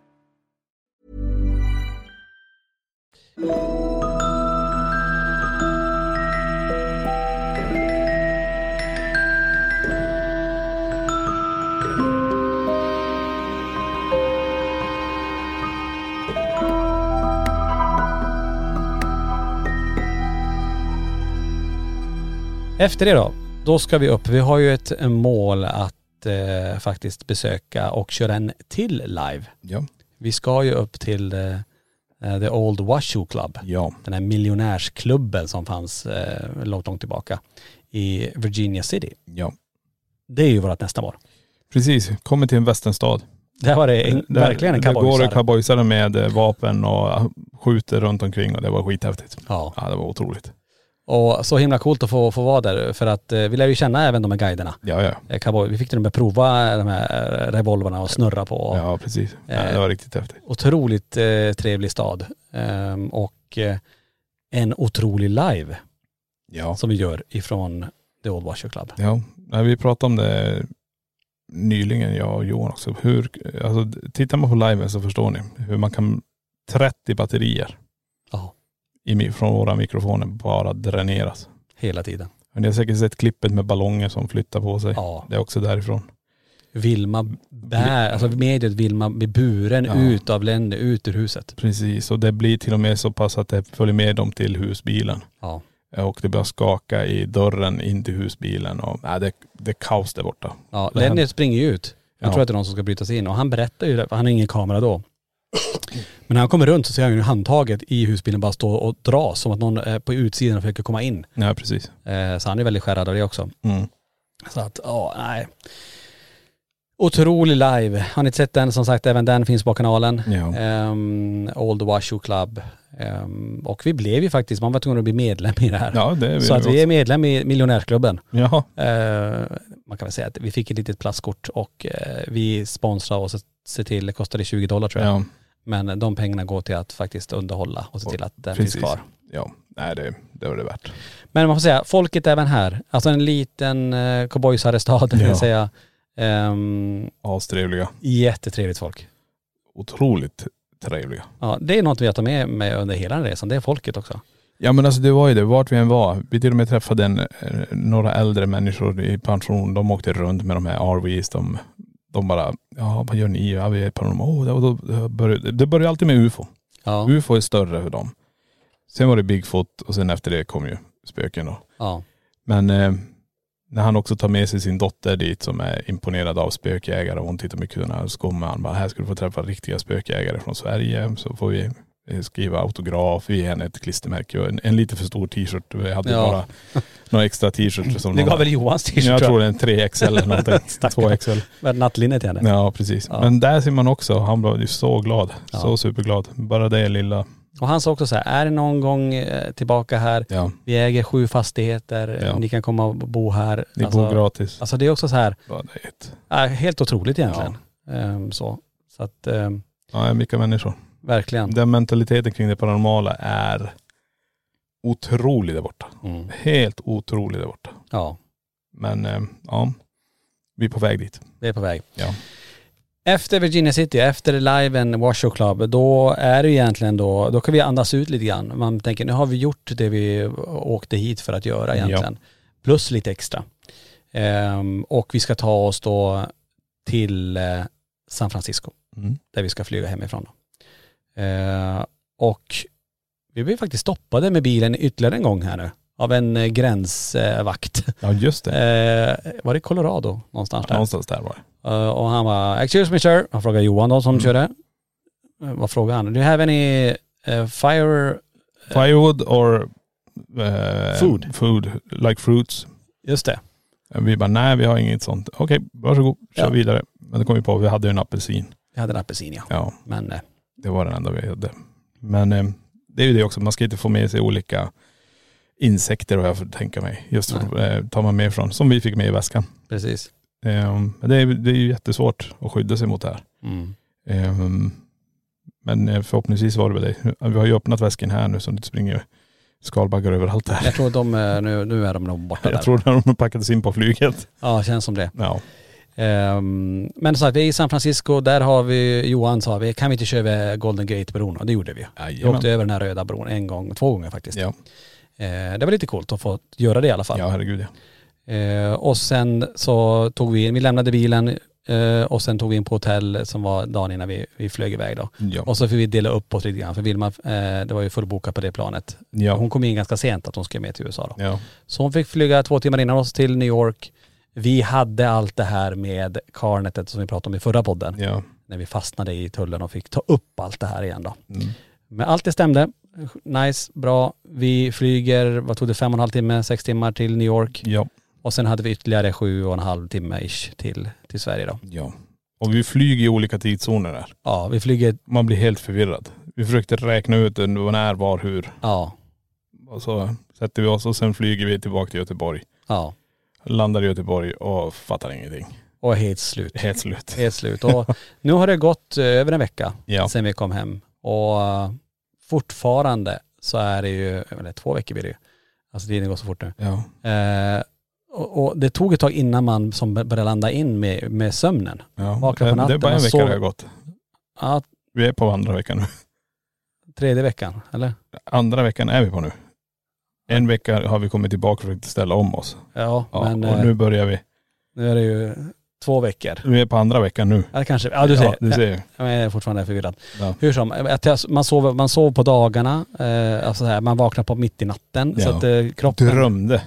[SPEAKER 5] Efter det då, då ska vi upp. Vi har ju ett eh, mål att eh, faktiskt besöka och köra en till live.
[SPEAKER 4] Ja.
[SPEAKER 5] Vi ska ju upp till eh, eh, The Old Washoe Club.
[SPEAKER 4] Ja.
[SPEAKER 5] Den här miljonärsklubben som fanns eh, långt, långt tillbaka i Virginia City.
[SPEAKER 4] Ja.
[SPEAKER 5] Det är ju vårt nästa mål.
[SPEAKER 4] Precis, kommer till en västernstad.
[SPEAKER 5] Där var det en, verkligen en
[SPEAKER 4] Där går det
[SPEAKER 5] cowboysare.
[SPEAKER 4] cowboysare med eh, vapen och skjuter runt omkring och det var skithäftigt.
[SPEAKER 5] Ja.
[SPEAKER 4] Ja, det var otroligt.
[SPEAKER 5] Och så himla coolt att få, få vara där för att eh, vi lär ju känna även de här guiderna.
[SPEAKER 4] Ja, ja.
[SPEAKER 5] Eh, Cowboy, vi fick till och med prova de här eh, revolverna och snurra på. och-
[SPEAKER 4] Ja, precis.
[SPEAKER 5] Eh.
[SPEAKER 4] Ja, det var riktigt häftigt.
[SPEAKER 5] otroligt eh, trevlig stad. Ehm, och eh, en otrolig live
[SPEAKER 4] Ja.
[SPEAKER 5] som vi gör ifrån The Old Washer Club.
[SPEAKER 4] Ja, nej, vi pratade om det nyligen, jag och Johan också. Hur, alltså, tittar man på liven så förstår ni hur man kan 30 batterier
[SPEAKER 5] Ja,
[SPEAKER 4] i, mi- från våra mikrofoner bara dräneras.
[SPEAKER 5] hela tiden.
[SPEAKER 4] Men ni har säkert sett klippet med ballonger som flyttar på sig.
[SPEAKER 5] Ja.
[SPEAKER 4] Det är också därifrån.
[SPEAKER 5] Vilma bär, alltså mediet Vilma blir buren
[SPEAKER 4] Ja.
[SPEAKER 5] ut av länder, ut ur huset.
[SPEAKER 4] Precis, och det blir till och med så pass att det följer med dem till husbilen.
[SPEAKER 5] Ja.
[SPEAKER 4] Och det börjar skaka i dörren in till husbilen. Och, nej, det, det är kaos där borta.
[SPEAKER 5] ja.
[SPEAKER 4] Det händer-
[SPEAKER 5] Lenny springer ju ut. Jag
[SPEAKER 4] Ja.
[SPEAKER 5] tror att det är någon som ska bryta sig in och han berättar ju det, för han har ingen kamera då. Men när han kommer runt så ser han ju handtaget i husbilen bara stå och dra som att någon eh, på utsidan försöker komma in.
[SPEAKER 4] Ja, precis.
[SPEAKER 5] Eh, Så han är väldigt skärrad av det också.
[SPEAKER 4] Mm.
[SPEAKER 5] Så att, ja, nej. Otrolig live. Har ni inte sett den? Som sagt, även den finns på kanalen.
[SPEAKER 4] Ja.
[SPEAKER 5] Ehm, Old Washoe Club. Ehm, och vi blev ju faktiskt, man var tvungen att bli medlem i det här.
[SPEAKER 4] Ja, det är vi
[SPEAKER 5] Så att
[SPEAKER 4] också.
[SPEAKER 5] vi är medlem i miljonärsklubben.
[SPEAKER 4] Ja,
[SPEAKER 5] Ehm, man kan väl säga att vi fick ett litet plastkort och eh, vi sponsrar och ser till, det kostade 20 dollar tror jag.
[SPEAKER 4] ja,
[SPEAKER 5] Men de pengarna går till att faktiskt underhålla och se till att den finns
[SPEAKER 4] precis.
[SPEAKER 5] kvar.
[SPEAKER 4] ja. Nej, det, det var det värt.
[SPEAKER 5] Men man får säga, folket även här, alltså en liten eh, cowboysarestad, vill
[SPEAKER 4] Ja.
[SPEAKER 5] jag säga. Ehm,
[SPEAKER 4] Astrevliga.
[SPEAKER 5] Jättetrevligt folk.
[SPEAKER 4] otroligt trevliga.
[SPEAKER 5] Ja, det är något vi har tagit med mig under hela den resan, det är folket också.
[SPEAKER 4] Ja men alltså det var ju det, vart vi än var. Vi till och med träffade en, eh, några äldre människor i pension. De åkte runt med de här RVs. De, de bara, ja vad gör ni? Ja vi är paranormala. Oh, det, det, började, det började alltid med ufo.
[SPEAKER 5] Ja,
[SPEAKER 4] Ufo är större för dem. Sen var det Bigfoot och sen efter det kom ju spöken då.
[SPEAKER 5] ja,
[SPEAKER 4] Men eh, när han också tar med sig sin dotter dit som är imponerad av spökjägare och hon tittar med kulorna och så kommer han bara, här ska du få träffa riktiga spökjägare från Sverige. Så får vi eh, skriva autograf, vi ger henne ett klistermärke och en, en lite för stor t-shirt. Vi hade
[SPEAKER 5] Ja.
[SPEAKER 4] bara några
[SPEAKER 5] [laughs]
[SPEAKER 4] extra t-shirts. som
[SPEAKER 5] Du
[SPEAKER 4] någon-
[SPEAKER 5] gav väl Johans t-shirt?
[SPEAKER 4] Jag tror det är en
[SPEAKER 5] [laughs]
[SPEAKER 4] 3XL eller någonting.
[SPEAKER 5] Stackare.
[SPEAKER 4] 2XL.
[SPEAKER 5] Med nattlinnet till henne.
[SPEAKER 4] Ja precis.
[SPEAKER 5] Ja.
[SPEAKER 4] Men där ser man också, han blev ju så glad.
[SPEAKER 5] Ja.
[SPEAKER 4] Så superglad. Bara det lilla.
[SPEAKER 5] Och han sa också så här, är det någon gång eh, tillbaka här,
[SPEAKER 4] Ja.
[SPEAKER 5] vi äger sju fastigheter,
[SPEAKER 4] Ja.
[SPEAKER 5] ni kan komma och bo här.
[SPEAKER 4] Ni
[SPEAKER 5] alltså,
[SPEAKER 4] bor gratis.
[SPEAKER 5] alltså det är också så här,
[SPEAKER 4] Bara det är ett.
[SPEAKER 5] äh, helt otroligt egentligen. Ehm, så. så att ehm,
[SPEAKER 4] Ja, det är mycket människor.
[SPEAKER 5] verkligen.
[SPEAKER 4] Den mentaliteten kring det paranormala är otrolig där borta.
[SPEAKER 5] Mm.
[SPEAKER 4] Helt otrolig där borta.
[SPEAKER 5] Ja,
[SPEAKER 4] Men eh, ja, vi är på väg dit.
[SPEAKER 5] det är på väg.
[SPEAKER 4] Ja.
[SPEAKER 5] Efter Virginia City, efter liven Washoe Club, då är det egentligen då, då kan vi andas ut lite grann. Man tänker nu har vi gjort det vi åkte hit för att göra egentligen. Plus lite extra. Ehm, och vi ska ta oss då till eh, San Francisco,
[SPEAKER 4] Mm.
[SPEAKER 5] där vi ska flyga hemifrån. Då. Ehm, och vi blev faktiskt stoppade med bilen ytterligare en gång här nu. Av en eh, gränsvakt.
[SPEAKER 4] Ja just det.
[SPEAKER 5] Ehm, var det Colorado någonstans där?
[SPEAKER 4] Någonstans där var det.
[SPEAKER 5] Eh, och han var excuse me sir. Han frågade Johan då
[SPEAKER 4] Mm.
[SPEAKER 5] som körde. Eh, vad frågade han? Do you have any eh, fire?
[SPEAKER 4] Firewood or eh,
[SPEAKER 5] Food.
[SPEAKER 4] Food, like fruits.
[SPEAKER 5] Just det.
[SPEAKER 4] Eh, Vi bara, nej vi har inget sånt. Okej, varsågod, kör
[SPEAKER 5] Ja.
[SPEAKER 4] vidare. Men då kom vi på, vi hade ju en apelsin.
[SPEAKER 5] Jag hade en apelsin ja.
[SPEAKER 4] Ja,
[SPEAKER 5] Men eh,
[SPEAKER 4] det var den enda vi hade. Men eh, det är ju det också, man ska inte få med sig olika insekter vad jag får tänka mig. Just för, eh, tar man med från, som vi fick med i väskan.
[SPEAKER 5] precis.
[SPEAKER 4] Eh, men det är, det är ju jättesvårt att skydda sig mot det här. Mm. Ehm, Men eh, förhoppningsvis var det väl det. Vi har ju öppnat väskan här nu så det springer skalbaggar överallt
[SPEAKER 5] Jag [laughs]
[SPEAKER 4] här.
[SPEAKER 5] tror de, eh, nu, nu är de nog borta där.
[SPEAKER 4] [laughs] Jag tror när de packades in på flyget.
[SPEAKER 5] Ja, känns som det.
[SPEAKER 4] Ja.
[SPEAKER 5] Ehm, men så att vi är i San Francisco, där har vi, Johan sa vi, kan vi inte köra över Golden Gate-bron? Och det gjorde vi. Vi
[SPEAKER 4] Jajamän.
[SPEAKER 5] åkte över den här röda bron en gång, två gånger faktiskt.
[SPEAKER 4] Ja.
[SPEAKER 5] Eh, det var lite coolt att få göra det i alla fall.
[SPEAKER 4] ja, herregud ja.
[SPEAKER 5] Eh, och sen så tog vi in, vi lämnade bilen eh, och sen tog vi in på hotell som var dagen innan vi, vi flög iväg då.
[SPEAKER 4] Ja.
[SPEAKER 5] Och så fick vi dela upp oss lite grann för Vilma, eh, det var ju fullbokat på det planet.
[SPEAKER 4] Ja.
[SPEAKER 5] Hon kom in ganska sent att hon skulle med till USA då.
[SPEAKER 4] ja.
[SPEAKER 5] Så hon fick flyga två timmar innan oss till New York. Vi hade allt det här med Carnetet som vi pratade om i förra podden.
[SPEAKER 4] ja.
[SPEAKER 5] När vi fastnade i tullen och fick ta upp allt det här igen då. Men allt det stämde. Nice, bra. Vi flyger, vad tog det, fem och en halv timme, sex timmar till New York.
[SPEAKER 4] ja.
[SPEAKER 5] Och sen hade vi ytterligare sju och en halv timme ish till, till Sverige då.
[SPEAKER 4] ja. Och vi flyger i olika tidszoner där.
[SPEAKER 5] Ja, vi flyger,
[SPEAKER 4] Man blir helt förvirrad. Vi försökte räkna ut den, vad när, var, hur.
[SPEAKER 5] ja,
[SPEAKER 4] Och så sätter vi oss och sen flyger vi tillbaka till Göteborg.
[SPEAKER 5] ja.
[SPEAKER 4] Landar i Göteborg och fattar ingenting.
[SPEAKER 5] Och helt slut.
[SPEAKER 4] Helt slut.
[SPEAKER 5] Helt slut. Och nu har det gått eh, över en vecka
[SPEAKER 4] Ja.
[SPEAKER 5] sedan vi kom hem. Och eh, fortfarande så är det ju, eller två veckor blir det ju. Alltså tiden går så fort nu.
[SPEAKER 4] Ja.
[SPEAKER 5] Eh, och, och det tog ett tag innan man som började landa in med, med sömnen.
[SPEAKER 4] ja. Eh,
[SPEAKER 5] Vakna på
[SPEAKER 4] Det- Det är
[SPEAKER 5] natten,
[SPEAKER 4] bara en
[SPEAKER 5] man
[SPEAKER 4] vecka
[SPEAKER 5] sover.
[SPEAKER 4] det har gått.
[SPEAKER 5] Ja,
[SPEAKER 4] Vi är på andra veckan nu.
[SPEAKER 5] tredje veckan, eller?
[SPEAKER 4] andra veckan är vi på nu. En vecka har vi kommit tillbaka för att ställa om oss.
[SPEAKER 5] Ja,
[SPEAKER 4] Ja,
[SPEAKER 5] men
[SPEAKER 4] och
[SPEAKER 5] eh,
[SPEAKER 4] nu
[SPEAKER 5] nu...
[SPEAKER 4] börjar vi.
[SPEAKER 5] är det ju två veckor.
[SPEAKER 4] Vi är på andra veckan nu.
[SPEAKER 5] Ja, kanske. Ja, du ser.
[SPEAKER 4] Ja, du ser.
[SPEAKER 5] Ja, men Jag är fortfarande förvirrad.
[SPEAKER 4] Ja.
[SPEAKER 5] Hur som, att jag- man sover, man sover på dagarna, eh, alltså så här, man vaknar på mitt i natten. Så
[SPEAKER 4] Ja.
[SPEAKER 5] att eh, kroppen,
[SPEAKER 4] Drömde.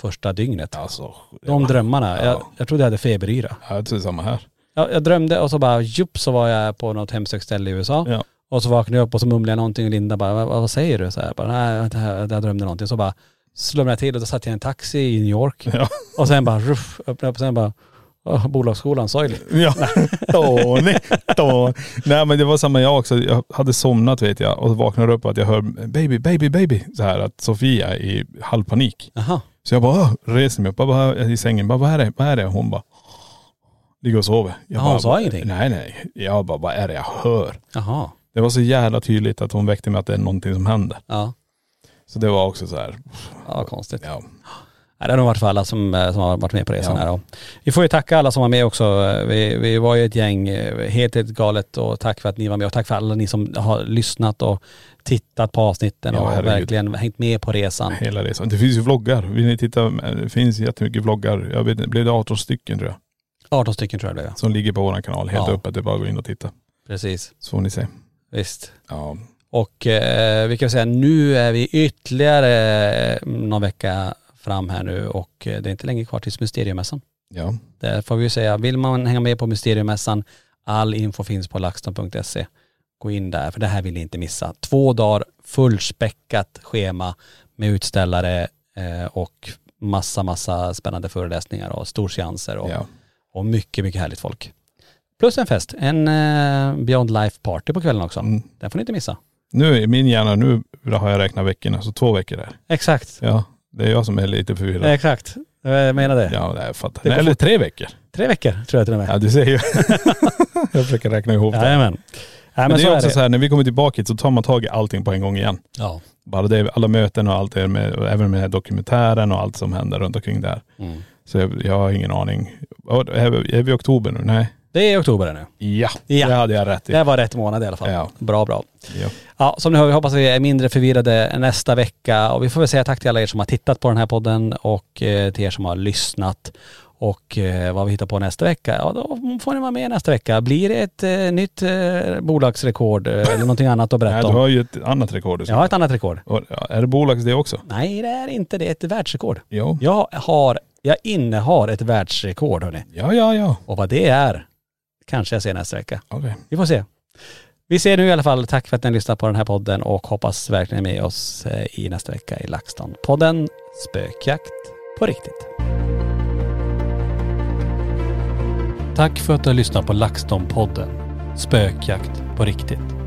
[SPEAKER 5] första dygnet.
[SPEAKER 4] Alltså.
[SPEAKER 5] De drömmarna, jag, jag trodde jag hade feberyra.
[SPEAKER 4] Ja, jag tror samma här.
[SPEAKER 5] Jag, jag drömde och så bara jupp så var jag på något hemsökt ställe i USA.
[SPEAKER 4] Ja.
[SPEAKER 5] Och så vaknade jag upp och så mumlade jag någonting och Linda bara, vad, vad säger du? Så här, bara, nej, det här, jag drömde någonting. Så bara slumnade jag till och då satt jag i en taxi i New York.
[SPEAKER 4] [laughs] Ja.
[SPEAKER 5] Och sen bara ruff, öppnade upp och sen bara, åh, bolagsskolan, sorgly.
[SPEAKER 4] Ja. Tony. Tony. Nej men det var samma jag också. Jag hade somnat vet jag och vaknade upp att jag hör baby, baby, baby. Så här att Sofia är i halvpanik.
[SPEAKER 5] Jaha,
[SPEAKER 4] Så jag bara "Åh", reser mig upp bara, bara, i sängen. Bara, vad är det? Vad är det? Hon bara ligger och sover. Jag
[SPEAKER 5] Ja, hon sa ingenting?
[SPEAKER 4] Nej nej. Jag bara, vad är det jag hör?
[SPEAKER 5] jaha,
[SPEAKER 4] Det var så jävla tydligt att hon väckte mig att det är någonting som händer.
[SPEAKER 5] ja.
[SPEAKER 4] Så det var också så här,
[SPEAKER 5] Ja, konstigt.
[SPEAKER 4] ja.
[SPEAKER 5] Nej, det har nog varit för alla som, eh, som har varit med på resan
[SPEAKER 4] Ja.
[SPEAKER 5] här. Och vi får ju tacka alla som var med också. Eh, Vi, vi var ju ett gäng, eh, helt, helt galet och tack för att ni var med och tack för alla ni som har lyssnat och tittat på avsnitten
[SPEAKER 4] Ja,
[SPEAKER 5] och
[SPEAKER 4] herregud.
[SPEAKER 5] verkligen hängt med på resan.
[SPEAKER 4] Hela resan. Det finns ju vloggar. Vill ni titta, det finns jättemycket vloggar. Jag vet inte, blev det 18 stycken tror jag.
[SPEAKER 5] 18 stycken tror jag det blev. ja.
[SPEAKER 4] Som ligger på våran kanal helt
[SPEAKER 5] Ja.
[SPEAKER 4] öppet. Det är bara att gå in och titta.
[SPEAKER 5] Precis,
[SPEAKER 4] Så får ni se.
[SPEAKER 5] visst.
[SPEAKER 4] Ja.
[SPEAKER 5] Och eh, vi kan säga nu är vi ytterligare eh, någon vecka fram här nu och eh, det är inte länge kvar tills Mysteriummässan.
[SPEAKER 4] Ja.
[SPEAKER 5] Där får vi ju säga, vill man hänga med på Mysteriemässan, all info finns på laxton.se. Gå in där, för det här vill ni inte missa. Två dagar fullspäckat schema med utställare eh, och massa, massa spännande föreläsningar och storseanser och,
[SPEAKER 4] Ja.
[SPEAKER 5] och mycket, mycket härligt folk. Plus en fest, en eh, Beyond Life Party på kvällen också.
[SPEAKER 4] Mm.
[SPEAKER 5] Den får ni inte missa.
[SPEAKER 4] Nu i min hjärna, nu har jag räknat veckorna, så två veckor där.
[SPEAKER 5] Exakt,
[SPEAKER 4] Ja, det är jag som är lite förvirrad.
[SPEAKER 5] exakt. Jag menar det.
[SPEAKER 4] Ja, det här fattar
[SPEAKER 5] Eh. Det
[SPEAKER 4] jag.
[SPEAKER 5] går
[SPEAKER 4] Nej, Eller tre veckor.
[SPEAKER 5] Tre veckor tror jag till och med.
[SPEAKER 4] Ja, du
[SPEAKER 5] [laughs]
[SPEAKER 4] ser ju. jag försöker räkna ihop det.
[SPEAKER 5] Jajamän. Ja, men,
[SPEAKER 4] Men det
[SPEAKER 5] så
[SPEAKER 4] är
[SPEAKER 5] är
[SPEAKER 4] också
[SPEAKER 5] det.
[SPEAKER 4] så här, när vi kommer tillbaka hit så tar man tag i allting på en gång igen.
[SPEAKER 5] Ja.
[SPEAKER 4] Bara det, alla möten och allt det med, och även med den här dokumentären och allt som händer runt omkring där.
[SPEAKER 5] Mm.
[SPEAKER 4] Så jag, jag har ingen aning. Ja, Är vi, är vi i oktober nu? Nej.
[SPEAKER 5] Det är oktober nu.
[SPEAKER 4] Ja,
[SPEAKER 5] Ja.
[SPEAKER 4] det hade jag rätt i.
[SPEAKER 5] Det var rätt månad i alla fall.
[SPEAKER 4] Ja.
[SPEAKER 5] Bra, bra.
[SPEAKER 4] Ja.
[SPEAKER 5] Ja, som ni hör, vi hoppas vi är mindre förvirrade nästa vecka. Och vi får väl säga tack till alla er som har tittat på den här podden och eh, till er som har lyssnat. Och eh, vad vi hittar på nästa vecka, ja då får ni vara med nästa vecka. Blir det ett eh, nytt eh, bolagsrekord eh, eller någonting annat
[SPEAKER 4] [laughs]
[SPEAKER 5] att
[SPEAKER 4] Nej,
[SPEAKER 5] berätta
[SPEAKER 4] du
[SPEAKER 5] om?
[SPEAKER 4] har ju ett annat rekord. du
[SPEAKER 5] Jag
[SPEAKER 4] ska-
[SPEAKER 5] har ett annat rekord.
[SPEAKER 4] Och, ja, är det bolags det också?
[SPEAKER 5] Nej, det är inte det. Det är ett världsrekord.
[SPEAKER 4] Jo.
[SPEAKER 5] Jag har, jag innehar ett världsrekord hörni.
[SPEAKER 4] Ja, ja, ja.
[SPEAKER 5] Och vad det är kanske jag ser nästa vecka.
[SPEAKER 4] Okej.
[SPEAKER 5] Vi får se. Vi ser nu i alla fall. Tack för att ni lyssnar på den här podden och hoppas verkligen med oss eh, i nästa vecka i LaxTon-podden Spökjakt på riktigt.
[SPEAKER 3] Tack för att du har lyssnat på LaxTon-podden. Spökjakt på riktigt.